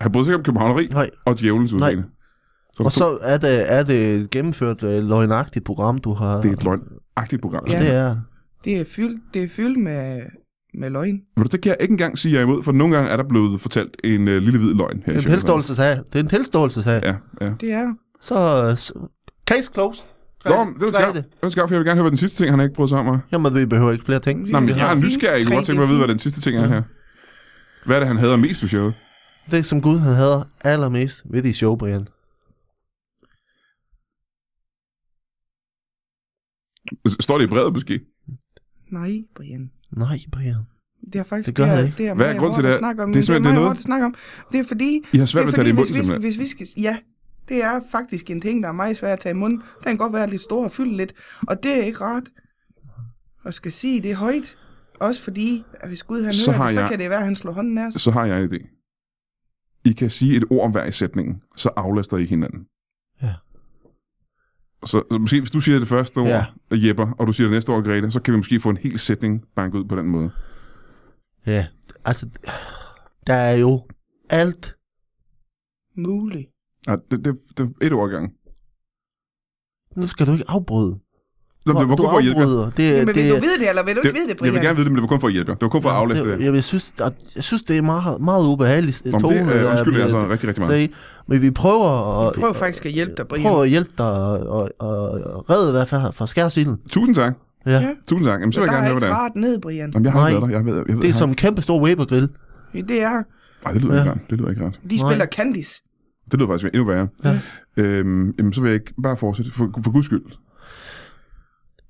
A: Han brød sig ikke om Københavneri
B: Nej.
A: og djævelens udseende. Så
B: Og så er det, er det et gennemført øh, løgnagtigt program, du har.
A: Det er et løgnagtigt program.
C: Ja.
B: Det er
C: Det er fyldt, det er fyldt med, med løgn.
A: Ved du, det kan jeg ikke engang sige jer imod, for nogle gange er der blevet fortalt en øh, lille hvid løgn her i
B: Det er en
A: showet.
B: tilståelsesag. Det er en tilståelsesag. Ja.
A: Ja, ja.
C: Det er jeg.
B: Så, så... Case closed.
A: Nå, men det er da
B: Færdig.
A: skarpt. Det er da skarpt, for jeg vil gerne høre, hvad den sidste ting, han ikke prøvet sammen med.
B: Jamen, vi behøver ikke flere ting.
A: Nej, men
C: Vi
A: jeg
C: har
A: er
C: fint
A: nysgerrig. Jeg kunne
C: tre,
A: godt tænke mig at
C: det er
A: vide, hvad den sidste ting er her. Hvad er det, han hader mest ved showet?
B: Det er som Gud, han hader allermest ved de show, Brian.
A: Står det i brevet måske?
C: Nej, Brian.
B: Nej, Brian.
C: Det er faktisk
B: Det gør
C: det,
B: jeg
C: er-
B: ikke.
C: det er
A: Hvad er
C: meget
A: grunden til
C: hårdt
A: det?
C: at snakke om.
A: Det er
C: men
A: simpelthen- det
C: det er
A: er
C: meget
A: noget-
C: hårdt at snakke om. Det er fordi,
A: I har svært ved at tage det i
C: fordi,
A: munden,
C: hvis vi, skal,
A: simpelthen.
C: hvis vi skal, ja, det er faktisk en ting, der er meget svært at tage i munden. Den kan godt være lidt stor og fylde lidt, og det er ikke rart at skal sige det højt. Også fordi, at hvis Gud han
A: Så
C: hører
A: har
C: det, så
A: jeg-
C: kan det være, at han slår hånden af os.
A: Så har jeg en idé. I kan sige et ord om hver i sætningen, så aflaster I hinanden.
B: Ja.
A: Så, så måske hvis du siger det første ord,
B: Ja.
A: ja. Jepper, og du siger det næste ord, Grete, så kan vi måske få en hel sætning banket ud på den måde.
B: Ja, altså, der er jo alt.
C: Muligt.
A: Ja, det, det, det er et ord gang.
B: Nu skal du ikke afbryde.
A: Nå, men det var
B: du
A: kun for at hjælpe jer.
B: afbryder. Det, det,
C: Jamen, vil du vide Øh, det, eller vil du
A: Det,
C: ikke vide det, Brian?
A: jeg vil gerne vide det, men det var kun for at hjælpe jer. Det var kun for at aflaste det.
B: det, jeg, jeg, synes, at- jeg synes, det er meget, meget ubehageligt.
A: Nå, men det øh, undskylder jeg altså rigtig, rigtig meget.
B: Men vi prøver at,
C: Prøv faktisk at hjælpe dig, Brian.
B: prøver at hjælpe dig og, og, og, og redde dig fra, fra skærsilden.
A: Tusind tak.
B: Ja.
C: Ja.
B: ja.
A: Tusind tak. Jamen, så vil
C: der
A: jeg gerne
C: er
A: høre,
C: ikke
A: hvordan.
C: rart ned, Brian.
A: Jamen, jeg har
B: Nej.
A: ikke været der. Jeg ved, jeg ved,
B: Det er
A: jeg
B: som en kæmpe stor Weber-grill.
C: Det er,
A: har- Ej, det lyder ikke
B: Ja.
A: rart. Det lyder ikke rart.
C: de
B: Nej.
C: spiller Candice.
A: Det lyder faktisk endnu værre.
B: Ja.
A: Øhm, jamen, så vil jeg ikke bare fortsætte. For, for guds skyld.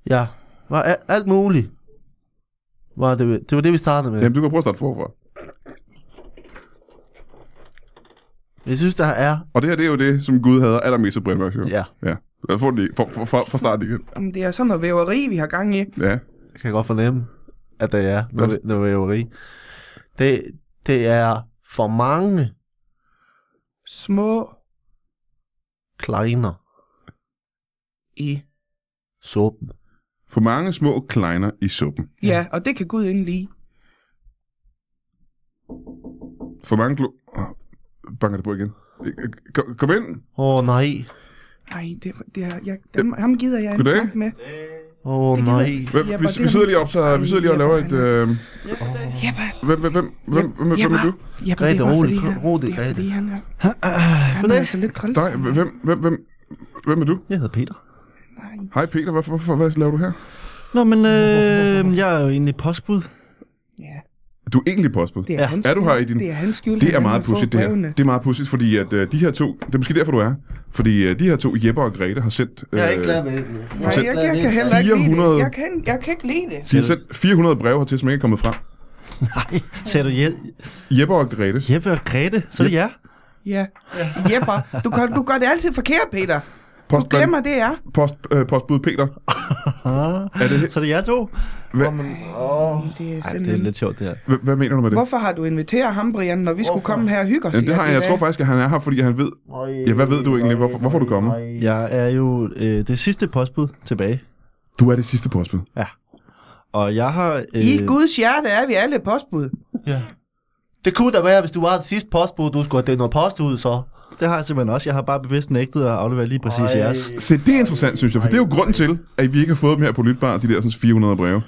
B: Ja. Var al- alt muligt. Var det, det var det, vi startede med.
A: Jamen, du kan prøve at starte forfra.
B: Jeg synes, der er...
A: Og det her, det er jo det, som Gud havde allermest i Brian Mørk Show.
B: Ja,
A: Ja. Lad os få den i- for, for, for, for starten igen.
C: Jamen, det er sådan noget væveri, vi har gang i.
A: Ja.
B: jeg kan godt fornemme, at der er noget, noget væveri. Det, det er for mange
C: Små
B: kleiner
C: i.
B: suppen.
A: For mange små kleiner i suppen.
C: Ja, og det kan Gud ikke lide.
A: For mange glo... Oh, banker det på igen. Øh, Kom, kom ind.
B: Åh oh, nej,
C: Ej, det, det er, jeg, dem, ham gider jeg ikke
A: Goddag.
C: snakke med.
B: åh oh,
C: Det gider
B: nej.
C: jeg
A: Hvem,
C: Jepper,
A: vi,
C: det
A: vi
C: er-
A: sidder lige op, så vi sidder lige og laver et... Øh,
C: Jepper,
A: hvem, hvem, hvem, hvem, hvem, hvem er du?
C: Jepper,
B: Grete,
C: det er bare,
B: rolig,
C: fordi han-
B: rolig,
C: det er,
B: Grete.
C: fordi han er, han er altså lidt træls.
A: Nej, hvem, hvem, hvem, hvem er du?
B: Jeg hedder Peter.
C: Nej.
A: Hej Peter, hvorfor, hvorfor, hvad laver du her?
D: Nå, men øh, jeg er jo egentlig postbud.
C: Ja,
A: Du er egentlig postbud.
C: det er,
B: Ja.
C: hans
A: Er du her
C: skyld.
A: i din-
C: Det er hans skyld.
A: Det
C: han
A: er
C: ikke
A: meget
C: har
A: pudsigt,
C: fået
A: det her.
C: brevene.
A: Det er meget pudsigt, fordi at øh, de her to, det er måske derfor, du er her, fordi øh, de her to, Jeppe og Grete, har sendt, øh,
B: ved det.
C: Nej, jeg, jeg, jeg kan heller ikke lide
A: 400
C: det. Jeg kan, jeg kan ikke lide det.
A: de har sendt 400 breve hertil, som ikke er kommet frem.
D: Sagde du Jel
A: Jeppe og Grete,
D: Jeppe og Grete? Så er det jer.
C: Ja. Jepper, du gør, du gør det altid forkert, Peter. Du
A: postmand,
C: glemmer, det er.
A: post, øh, postbud Peter. Ah. Er det,
D: Så er det jer to?
A: hvad,
C: Det er
D: Ej, det er
C: simpelthen...
D: lidt sjovt, det her.
A: hvad, hvad mener du med det?
C: Hvorfor har du inviteret ham, Brian, når vi skulle komme her og hygge os?
A: Jamen, det
C: i
A: har
C: alle
A: jeg, jeg
C: dage?
A: tror faktisk, at han er her, fordi han ved... Ja, hvad ved du egentlig? Hvorfor, hvorfor er du kommet?
D: Jeg er jo øh, det sidste postbud tilbage.
A: Du er det sidste postbud.
D: Og jeg har... Øh,
C: I Guds hjerte er vi alle postbud.
B: Ja. Det kunne da være, hvis du var det sidste postbud, du skulle have delt noget post ud, så.
D: Det har jeg simpelthen også. Jeg har bare bevidst nægtet at aflevere lige præcis
B: Ej.
D: jeres.
A: Se, det er interessant, synes jeg, for det er jo grunden til, at vi ikke har fået dem her på Lytbar, de der sådan 400 breve.
D: Det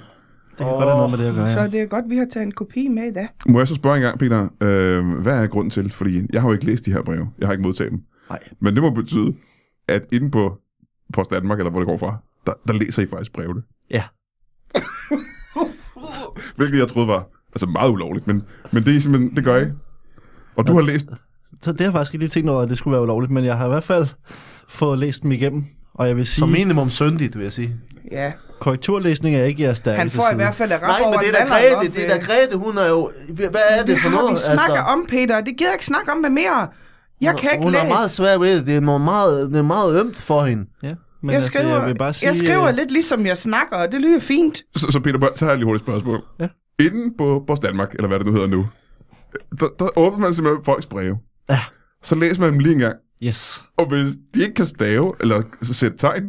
D: kan godt have noget med det at gøre,
C: Så
D: ja.
C: det er godt, vi har taget en kopi med i dag.
A: Må jeg så spørge engang, Peter, øh, hvad er grunden til? Fordi jeg har jo ikke læst de her breve. Jeg har ikke modtaget dem.
D: Nej.
A: Men det må betyde, at inde på Post Danmark, eller hvor det går fra, der, der læser I faktisk brevene.
D: Ja.
A: Hvilket jeg troede var altså meget ulovligt, men, men det, er I simpelthen, det gør I. Og du har læst...
D: Så det har jeg faktisk ikke lige tænkt over, at det skulle være ulovligt, men jeg har i hvert fald fået læst dem igennem. Og jeg vil sige,
B: Som
D: min...
B: minimum syndigt, vil jeg sige.
C: Ja.
D: korrekturlæsning er ikke jeres stærkeste
C: Han får i
D: side.
C: hvert fald at
B: Nej,
C: ramme
B: men
C: over
B: det er da
C: nalderen
B: Grete,
C: om,
B: det er
C: øh,
B: da Grete, hun er jo... Hvad er det,
C: det
B: for
C: har
B: noget? altså.
C: vi snakker om, Peter. Det gider jeg ikke snakke om med mere. Jeg kan ikke
B: hun
C: læse.
B: er meget svær ved det. Det er noget meget, det er meget ømt for hende.
D: Ja, men
C: jeg, skriver,
D: altså, jeg vil bare sige,
C: jeg skriver
D: øh,
C: lidt ligesom jeg snakker, og det lyder fint.
A: Så, så Peter, så har jeg lige hurtigt et spørgsmål.
D: Ja.
A: Inden på Post Danmark, eller hvad det nu hedder nu, der, der åbner man simpelthen folks breve.
D: Ja.
A: Så læser man dem lige en gang.
D: Yes.
A: Og hvis de ikke kan stave, eller sætte tegn,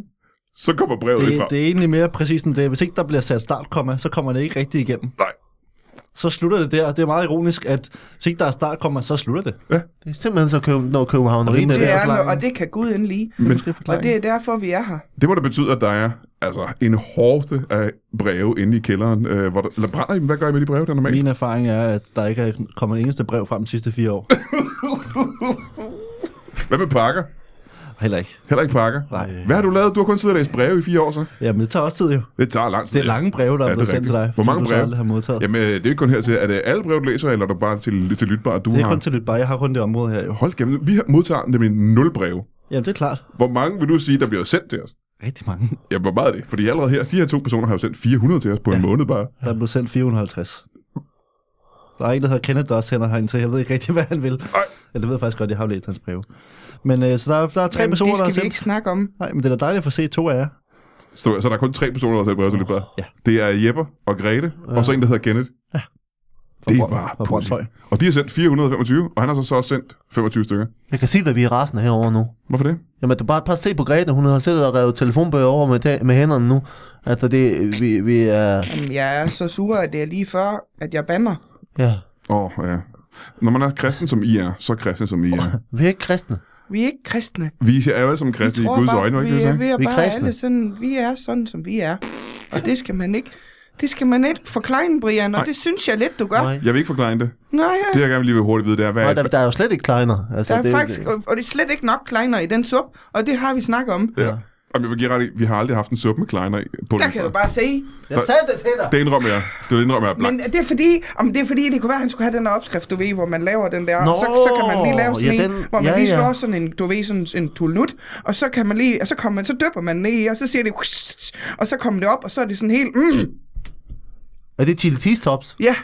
A: så kommer brevet det,
D: Det,
A: ifra.
D: det er egentlig mere præcis end det. Hvis ikke der bliver sat startkomma, så kommer det ikke rigtigt igennem.
A: Nej.
D: Så slutter det der, og det er meget ironisk, at hvis ikke der er startkomma, så slutter det.
B: Det er simpelthen så køb, noget københavneri
D: Og det
B: med
C: Det
B: det.
C: er,
D: forklaringen.
C: og det kan Gud endelig.
D: Men,
A: Men-
D: Måske
C: Og
D: forklaringen.
C: det er derfor, vi er her.
A: Det må da betyde, at der er altså, en hårde af breve inde i kælderen. Øh, hvor der, eller brænder I dem? Hvad gør I med de breve, der normalt?
D: Min erfaring er, at der ikke er kommet en eneste brev frem de sidste fire år.
A: Hvad med pakker?
D: Heller ikke.
A: Heller ikke pakker.
D: Nej.
A: Hvad har du lavet? Du har kun siddet og læst breve i fire år, så?
D: Jamen, det tager også tid jo.
A: Det tager lang tid.
D: Det er lange breve, der
A: Ja, det
D: er
A: er
D: blevet sendt til
A: rigtigt.
D: dig.
A: Hvor
D: som
A: mange
D: du så
A: breve?
D: aldrig har modtaget.
A: Jamen, øh, det er jo ikke kun her til. Er det alle brev, du læser, eller er det bare til, til lytbar, du
D: Det er
A: har?
D: kun til lidt bare. Jeg har rundt det område her jo.
A: Hold kæft, vi har- modtager nemlig nul breve.
D: Jamen, det er klart.
A: Hvor mange vil du sige, der bliver sendt til os?
D: Rigtig mange.
A: Ja, hvor meget er det? Fordi allerede her, de her to personer har jo sendt 400 til os på en måned bare.
D: Der er blevet sendt 450. Der er en, der hedder Kenneth, der også sender herind, så jeg ved ikke rigtig, hvad han vil.
A: Ej.
D: Eller det ved jeg faktisk godt, jeg har jo læst hans breve. Men øh, så der, er- der er tre
C: Jamen,
D: personer,
C: det
D: der har
C: skal vi
D: sendt...
C: ikke snakke om.
D: Nej, men det er da dejligt at få set to af jer.
A: Så, så der er kun tre personer, der har sendt brev til Lytbar.
D: Ja.
A: Det er Jeppe og Grete, ja. og så en, der hedder Kenneth. Ja. Det
D: Brøn-
A: var
D: fra Brønshøj.
A: pudsigt. Og de har sendt 425, og han har så, så også sendt 25 stykker.
B: Jeg kan sige, at vi er rasende herover nu.
A: Hvorfor det?
B: Jamen, du bare, bare se på Grete, hun har siddet og revet telefonbøger over med, ta- med hænderne nu. Altså, det, vi, vi er...
C: Jamen, jeg er så sur, at det er lige før, at jeg bander.
B: Ja,
A: Åh, oh, ja. Når man er kristen, som I er, så kristen, som I er.
B: vi er ikke kristne.
C: Vi er ikke kristne.
A: Vi er jo alle sammen
C: Vi
A: kristne i Guds øjne, ikke
C: vi,
A: det,
C: er,
A: jeg
C: vi
A: sagde?
C: er
B: Vi er
C: bare
B: kristne.
C: alle sådan, vi er sådan, som vi er. Og det skal man ikke, det skal man ikke forklejne, Brian, og
A: Nej.
C: det synes jeg lidt, du gør.
B: Nej.
C: Nej,
A: Jeg vil ikke forklare det.
C: ja.
A: Det, jeg gerne lige vil hurtigt vide, det er, hvad
B: Nej,
A: er
B: der,
A: et,
B: der er jo slet ikke kleiner. Altså,
C: Der er
B: det,
C: faktisk, og, og det er slet ikke nok kleiner i den sup, og det har vi snakket om.
A: ja. Jamen, jeg vil give ret i, vi har aldrig haft en suppe med kleiner i. På
C: Der kan jeg jo bare se.
B: Jeg sagde det til dig!
A: Det indrømmer jeg. Det indrømmer jeg blankt.
C: Men det er fordi, om det er fordi, det kunne være, at han skulle have den der opskrift, du ved, hvor man laver den der, Nå, så, så kan man lige lave sådan
B: ja,
C: ja, en,
B: den-
C: hvor man
B: ja,
C: ja, lige
B: ja.
C: slår sådan en, du ved, sådan en tulnut, og så kan man lige, og så kommer man, så døber man ned i, og så siger det, og så kommer det op, og så er det sådan helt, mm,
B: Er det chili cheese tops?
C: ja,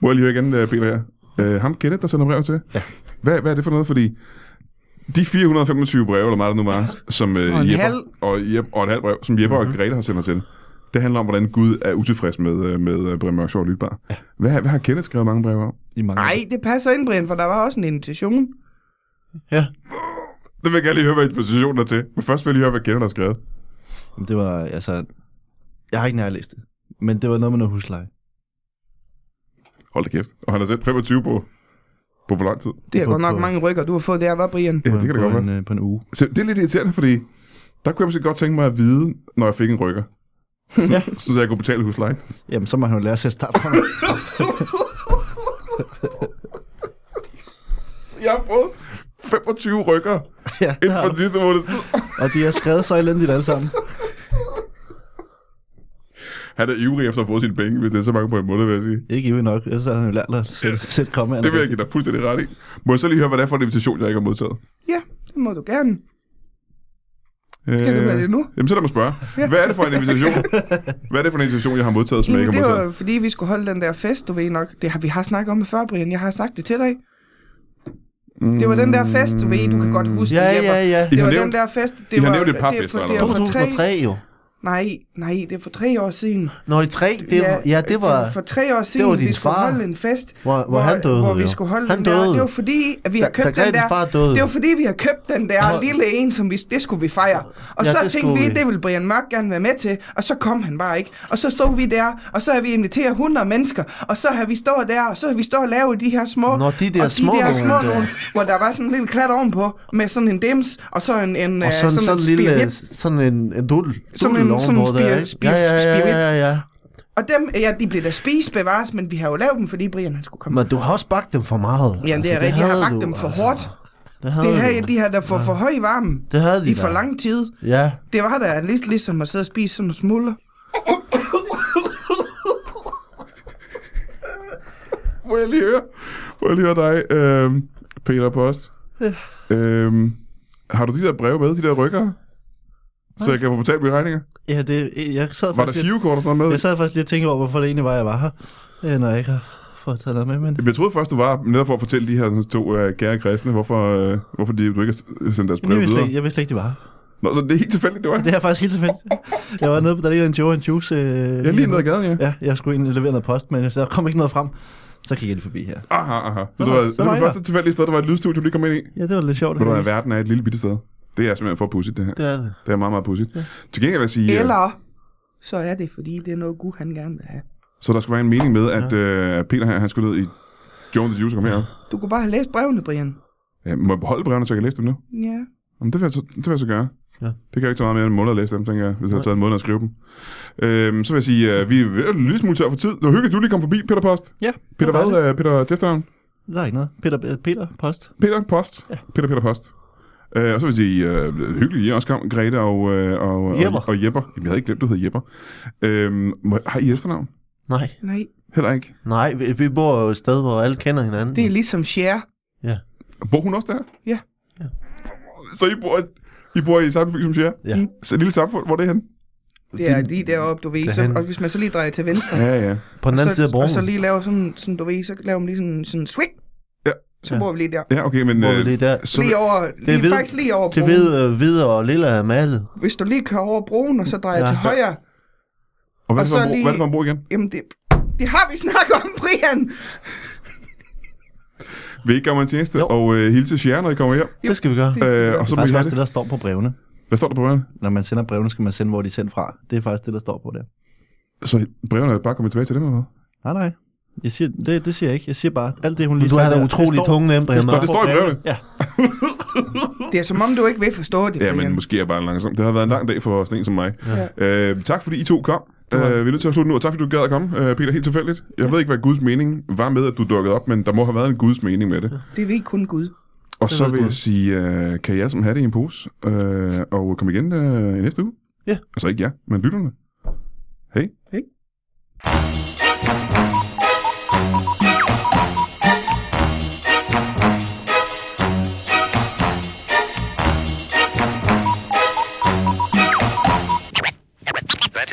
A: Må jeg lige høre igen, øh, Peter her? Øh, ham Kenneth, der sender brev til? Ja. Hvad, hvad er det for noget? Fordi de 425 breve, eller meget det nu var, som øh,
C: Og en
A: Jeppe,
C: halv. Mhm.
A: og, Jeppe, og et halvt brev, som Jeppe mm-hmm. og Grete har sendt til, det handler om, hvordan Gud er utilfreds med, øh, med øh, Brian Mørksjov og Lytbar. Ja. Hvad, hvad har Kenneth skrevet mange breve om?
D: I mange
C: nej, det passer ind, Brian, for der var også en invitation.
B: Ja.
A: Det vil jeg gerne lige høre, hvad informationen er til. Men først vil jeg lige høre, hvad Kenneth har skrevet.
D: år. Det var, altså... Jeg har ikke nærlæst det. Men det var noget med noget husleje.
A: Hold da kæft. Og han har sendt 25 på, på hvor lang tid?
C: Det er
D: På-
C: godt nok
D: på-
C: mange rykker, du har fået der, var Brian?
A: Ja,
D: På
A: det
D: en-
A: kan det
D: på
A: godt
D: en,
A: være.
D: øh, På en uge.
A: Så det er lidt irriterende, fordi der kunne jeg måske godt tænke mig at vide, når jeg fik en rykker. Så, ja. så jeg kunne betale huslejen.
D: Jamen, så må han jo lære sig at starte fra.
A: Jeg har fået 25 rykker
D: ja, det
A: inden
D: har
A: for
D: du.
A: den sidste måned.
D: Og de har skrevet så elendigt alle sammen.
A: Han er ivrig efter at få sine penge, hvis det er så mange på en måned, vil jeg sige.
D: Ikke ivrig nok, ellers havde han jo lært at sætte- sætte kommaerne.
A: Det vil jeg give dig fuldstændig ret i. Må jeg så lige høre, hvad det er for en invitation, jeg ikke har modtaget?
C: Ja, det må du gerne. Skal du have det nu?
A: Øh, Jamen, så lad mig spørge. Hvad er det for en invitation? Hvad er det for en invitation, jeg har modtaget, som jeg
C: Jamen,
A: ikke
C: det
A: har
C: var
A: modtaget?
C: jo, fordi, vi skulle holde den der fest, du ved nok. Det har vi har snakket om det før, Brian. Jeg har sagt det til dig. Det var den der fest, du ved. Du kan godt huske
B: Ja,
C: det, Jeppe.
B: ja, ja.
A: I
C: Det
A: har
C: var
A: nævnt-
C: den der fest. Det
A: I har
C: var,
A: nævnt et par
C: det er
A: fester,
C: for-
A: eller
C: det var for tre-
B: 2003 jo.
C: Nej, nej, det er for tre år siden.
B: Nå, i 3, det, ja, ja, det var...
C: øh, for tre år siden,
B: var din
C: vi skulle
B: far,
C: holde en fest,
B: hvor- hvor han døde
C: hvor vi
B: jo.
C: skulle holde
B: Han
C: den der.
B: døde.
C: Det var fordi, at vi
B: Da-
C: har købt
B: da
C: den
B: Grethes
C: der.
B: far døde.
C: Det var fordi, vi har købt den der
B: Nå.
C: lille en, som vi, det skulle vi fejre. Og
B: Ja,
C: så
B: det
C: tænkte
B: skulle
C: vi,
B: vi.
C: det ville Brian Mørk gerne være med til, og så kom han bare ikke. Og så stod vi der, og så har vi inviteret 100 mennesker, og så har vi stået der, og så har vi stået og lavet de her små,
B: Nå, de der
C: og
B: små
C: de der
B: nogle øh,
C: små
B: der.
C: nogle, hvor der var sådan en lille klat ovenpå, med sådan en dims, og så en, en
B: Og sådan,
C: øh,
B: sådan,
C: et
B: sådan en lille,
C: spiritvip.
B: sådan en, en dul.
C: Som
B: dul
C: en-
B: ovenpå
C: sådan en
B: der,
C: spir-
B: ikke?
C: spir-
B: ja, ja, ja,
C: spirhvip.
B: ja, ja, ja.
C: Og dem, ja, de blev da spist bevares, men vi har jo lavet dem, fordi Brian han skulle komme.
B: Men du har også bagt dem for meget. Altså, Ja,
C: Jamen, det er rigtigt. Jeg har bagt dem for hårdt.
B: altså, Det havde
C: Det her,
B: du.
C: de har da for, for høj varme
B: Det havde de
C: i for
B: da.
C: lang tid.
B: Ja.
C: Det var da lidt ligesom at sidde og spise sådan nogle smuller.
A: Må jeg lige høre? Må jeg lige høre dig, øh, Peter Post? Øh, har du de der breve med, de der rykker? Så jeg kan få betalt mine regninger?
D: Ja, det, jeg sad
A: Var der
D: faktisk... lidt-
A: girokort og sådan noget med?
D: Jeg sad faktisk lige og tænkte over, hvorfor det egentlig var, jeg var her, øh, når jeg ikke har fået taget noget med, men
A: Jamen, Jeg troede først, du var netop for at fortælle de her sådan, to uh, kære kristne, hvorfor, uh, hvorfor de, du ikke har sendt deres brev
D: jeg vidste, slet
A: videre.
D: ikke, jeg vidste slet ikke, det var her.
A: Nå, så det er helt tilfældigt, det var.
D: Det er faktisk helt tilfældigt. Jeg var nede på, der ligger en Joe and Juice. Øh,
A: Jeg er lige nede ad gaden, ja.
D: Ja, jeg skulle egentlig levere noget post, men der kom ikke noget frem. Så gik jeg lige forbi her.
A: Aha, aha. Så det
D: Nå,
A: var,
D: så
A: det var
D: var
A: det
D: I
A: første tilfældige sted, der var et lydstudie, du lige kom ind i.
D: Ja, det var lidt sjovt.
A: Ved du, hvad verden er et lille bitte sted. Det er simpelthen for pudsigt, det her.
B: Det er det.
A: Det er meget, meget pudsigt. Til gengæld vil jeg sige,
C: Yeah.
A: øh,
C: Eller så er det, fordi det er noget Gud, han gerne vil have.
A: så der skulle være en mening med, at øh, Peter her, han skulle ned i Jones the Juice og komme herop.
C: Du kunne bare have læst brevene, Brian.
A: Ja, må jeg beholde brevene, så jeg kan læse dem nu?
C: Ja.
A: Jamen, det, vil jeg så, det vil jeg så gøre.
B: Ja.
A: Det kan jo ikke tage meget mere end en måned at læse dem, tænker jeg, hvis jeg har taget en måned at skrive dem. Øhm, så vil jeg sige, at vi er ved at være en lille smule tør for tid. Det var hyggeligt, du lige kom forbi, Peter Post.
D: Ja,
A: Peter
D: det var
A: hvad?
D: dejligt.
A: Øh, Peter til efternavn?
D: Der er ikke noget. Peter, øh, Peter Post.
A: Peter Post. Ja. Peter Peter Post. Øh, og så vil jeg sige, øh, hyggeligt, I også kom, Grete og, øh, og,
D: Jepper.
A: og, og Jepper. Jamen, jeg havde ikke glemt, du hed Jepper. Øhm, må, har I efternavn?
B: Nej,
C: Nej,
A: Heller ikke.
B: nej, vi, vi bor jo et sted, hvor alle kender hinanden.
C: det er ligesom share.
A: Bor hun også der?
C: Ja.
B: Ja.
A: Så I bor, I bor i samme by som Sjære?
B: Ja.
A: Så et lille samfund, hvor er det hen?
C: Det er lige deroppe, du ved. Så,
B: Derhen.
C: og hvis man så lige drejer til venstre,
A: Ja, ja.
B: På den anden
C: så,
B: side af
C: og
B: broen,
C: så lige laver sådan, sådan, du ved, så laver man lige sådan, sådan swing.
A: Ja.
C: Så
D: Ja.
C: bor vi lige der.
A: Ja, okay, men...
B: hvor
A: øh,
B: vi lige der.
A: så,
C: Lige over, lige,
B: ved-
C: faktisk lige over
B: Det
C: broen.
B: hvide, øh, hvide og lilla er malet.
C: Hvis du lige kører over broen, og så drejer
B: Ja.
C: til højre,
A: og hvad er
C: og
A: det for
C: så
A: en bro,
C: lige-
A: hvad er det for en bro igen?
C: jamen det, det har vi snakket om, Brian.
A: Vil I ikke gøre mig en tjeneste
B: Jo.
A: og øh, hilse Sjære, når I kommer hjem?
B: Det skal vi gøre.
A: Øh, og så
D: Det er
A: må I
D: faktisk
A: have
D: også
A: det.
D: det, der står på brevene.
A: Hvad står der på brevene?
D: Når man sender brevene, skal man sende, hvor de er sendt fra. Det er faktisk det, der står på der.
A: Så brevene er bare kommet tilbage til dem, eller hvad?
D: Nej, nej. Jeg siger, det, det siger jeg ikke. Jeg siger bare, alt det, hun lige
B: Du har da
D: der,
B: utrolig
D: det står-
B: tunge nemt derhjemme.
A: står- det står- i
D: på
A: brevene.
D: Ja.
C: Det er som om, du ikke vil forstå det,
A: Ja,
C: Brian.
A: men måske er jeg bare langsom. Det har været en lang dag for sådan en som mig. Ja. Øh, tak fordi I to kom. Øh, vi er nødt til at slutte nu, og tak fordi du gad at komme, øh, Peter, helt tilfældigt. Jeg ved ikke, hvad Guds mening var med, at du dukkede op, men der må have været en Guds mening med det.
C: Det ved kun Gud.
A: Og så
B: ved
A: vil
B: Gud.
A: jeg sige, øh, kan I alle sammen have det i en pose, øh, og kom igen øh, i næste uge?
B: Ja.
A: Altså ikke jer, men lytterne. Hej.
C: Hej.
E: That